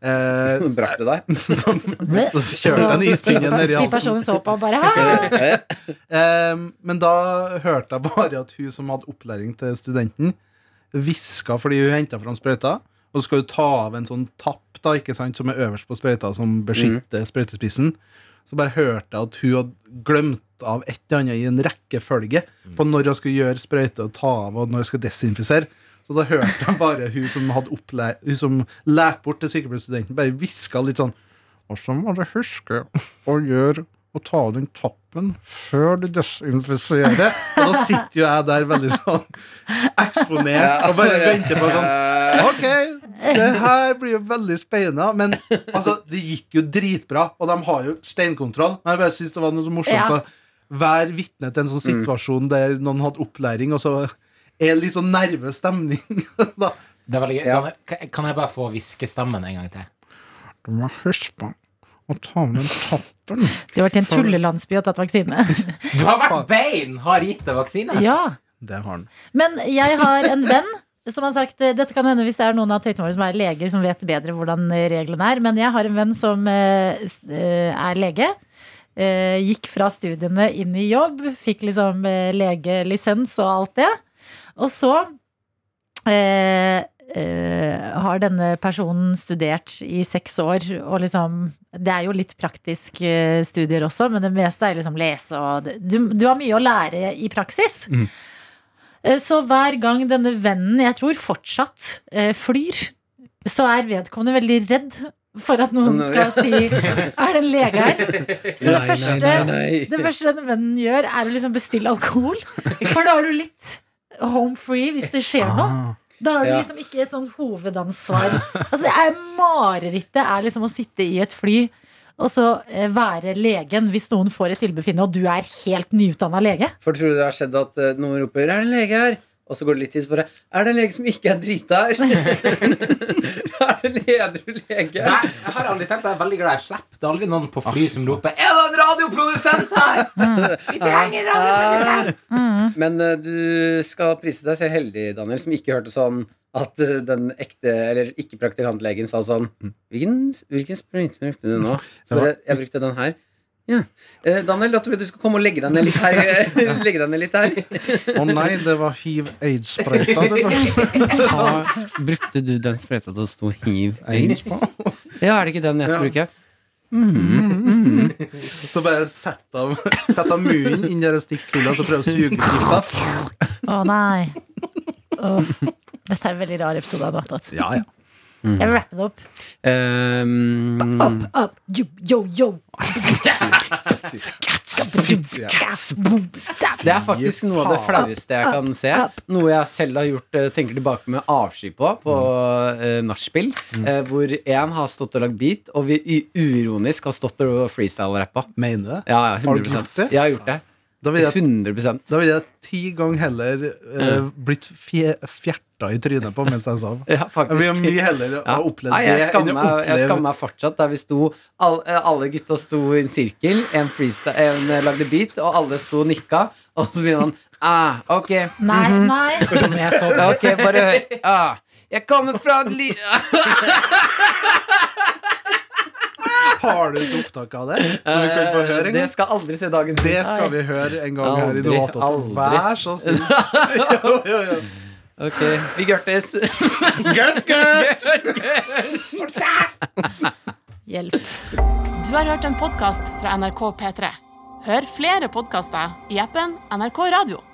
D: eh,
B: Hun brakk det deg.
D: Så kjørte jeg en ispinne ned
C: Ti
D: i halsen
C: personer så på og bare Hæ?
D: eh, Men da hørte jeg bare at hun som hadde opplæring til studenten Viska fordi hun hentet fram sprøyta Og så skal hun ta av en sånn tapp da, ikke sant, Som er øverst på sprøyta Som beskytter sprøytespissen Så bare hørte jeg at hun hadde glemt av et eller annet i en rekkefølge På når hun skulle gjøre sprøyte og ta av Og når hun skulle desinfisere Så da hørte jeg bare hun som hadde opplært Hun som lærte bort til sykepleierstudenten Bare viska litt sånn Og så må du huske å gjøre å ta av den tappen før du desinfiserer. Og da sitter jo jeg der veldig sånn eksponert og bare venter på sånn Ok, det her blir jo veldig spennende. Men altså, det gikk jo dritbra, og de har jo steinkontroll. Men jeg bare syns det var noe så morsomt
C: Ja.
D: å være vitne til en sånn situasjon der noen hadde opplæring, og så er det litt sånn nervøs stemning. da.
E: Det er veldig gøy. Kan- Kan jeg bare få hviskestemmen en gang til?
D: Du må huske på å ta med den tappen.
C: Du har vært i en tullelandsby og tatt vaksine.
E: Du har vært bein! Har gitt deg vaksine?
C: ja.
D: Det har han.
C: Men jeg har en venn som har sagt Dette kan hende hvis det er noen av tøytene våre som er leger, som vet bedre hvordan reglene er. Men jeg har en venn som eh, s- eh, er lege. eh, Gikk fra studiene inn i jobb. Fikk liksom eh, legelisens og alt det. Og så eh, eh, har denne personen studert i seks år, og liksom Det er jo litt praktisk eh, studier også, men det meste er liksom lese og Du, du har mye å lære i praksis.
B: Mm.
C: Eh, Så hver gang denne vennen, jeg tror fortsatt, eh, flyr, så er vedkommende veldig redd for at noen
B: Nå, ja.
C: skal si Er det en lege her?
B: Nei,
C: Så det
B: nei,
C: første,
B: nei, nei.
C: det første denne vennen gjør, er å liksom bestille alkohol. For da er du litt home free hvis det skjer
B: Ah.
C: noe. Da har du
B: Ja.
C: liksom ikke et sånn hovedansvar. Altså det er Marerittet er liksom å sitte i et fly og så eh, være legen hvis noen får et tilbefinnende, og du er helt nyutdanna lege.
B: For tror du det har skjedd at eh, noen roper 'Er det en lege her?' Og så går det litt tid, så bare 'Er det en lege som ikke er drita her?' er det en edru lege
E: Nei, jeg har aldri tenkt på det. Jeg er veldig glad jeg slipper. Det er aldri noen på fly som roper 'Er det en radioprodusent her?' Vi trenger en radioprodusent!
B: Ah. Men eh, du skal prise deg selv heldig, Daniel, som ikke hørte sånn at eh, den ekte, eller ikke-praktikantlegen sa sånn 'Hvilken, hvilken sprøyte brukte du nå?' Så bare, 'Jeg brukte den her'. Ja. Eh, Daniel, da tror jeg du skal komme og legge deg ned litt her. legge deg ned litt her.
D: Å nei, det var hiv-aids-sprøyta du brukte.
B: brukte du den sprøyta til å stå
D: AIDS
B: hiv-aids
D: på?
B: Ja, er det ikke den jeg skal
D: Ja.
B: bruke?
D: Så bare sett av, sett av munnen inn i det stikkhullet og så prøv å suge ut gifta.
C: Å nei. Åh. Dette er en veldig rar episode av Notat.
D: Ja, ja.
C: Jeg vil rappe det opp.
B: Um,
C: Up, yo, yo, yo.
B: det er faktisk noe av det flaueste jeg kan se. Noe jeg selv har gjort eh, tenker tilbake med avsky på, på
D: Mm.
B: uh, nachspiel. eh, hvor én har stått og lagd beat, og vi i- uironisk har stått og freestyle-rappa.
D: Mener du det?
B: Ja, ja,
D: Har du
B: 100
D: gjort det?
B: Jeg har gjort det.
D: Da ville jeg,
B: 100
D: da vil jeg ti ganger heller eh, blitt fje, fjerta i trynet på mens jeg sov.
B: Mm. Ja,
D: Jeg vil
B: faktisk.
D: mye heller
B: Ja.
D: ha opplevd
B: Nei,
D: det
B: jeg skammer
D: enn å
B: meg, jeg
D: oppleve-
B: skammer meg fortsatt. Der vi sto, all, eh, alle gutta sto i en sirkel, en, freestyle, en eh, lagde beat, og alle sto og nikka. Og så begynner han ah, Ok,
C: Nei, nei.
E: Den er sånn.
B: ok, bare hør. Ah, jeg kommer fra et li...
D: Har du ikke opptak av det? Som vi kan få høre en
B: Eh, Det
D: gang?
B: skal aldri se dagens
D: Det
B: lys.
D: skal vi høre en gang her i
B: Aldri,
D: Novata.
B: aldri.
D: Vær så snill. Jo, jo, jo.
B: Ok, vi gørtes.
D: Gørt, gørt.
C: Hjelp.
A: Du har hørt en podkast fra NRK P3. Hør flere podkaster i appen NRK Radio.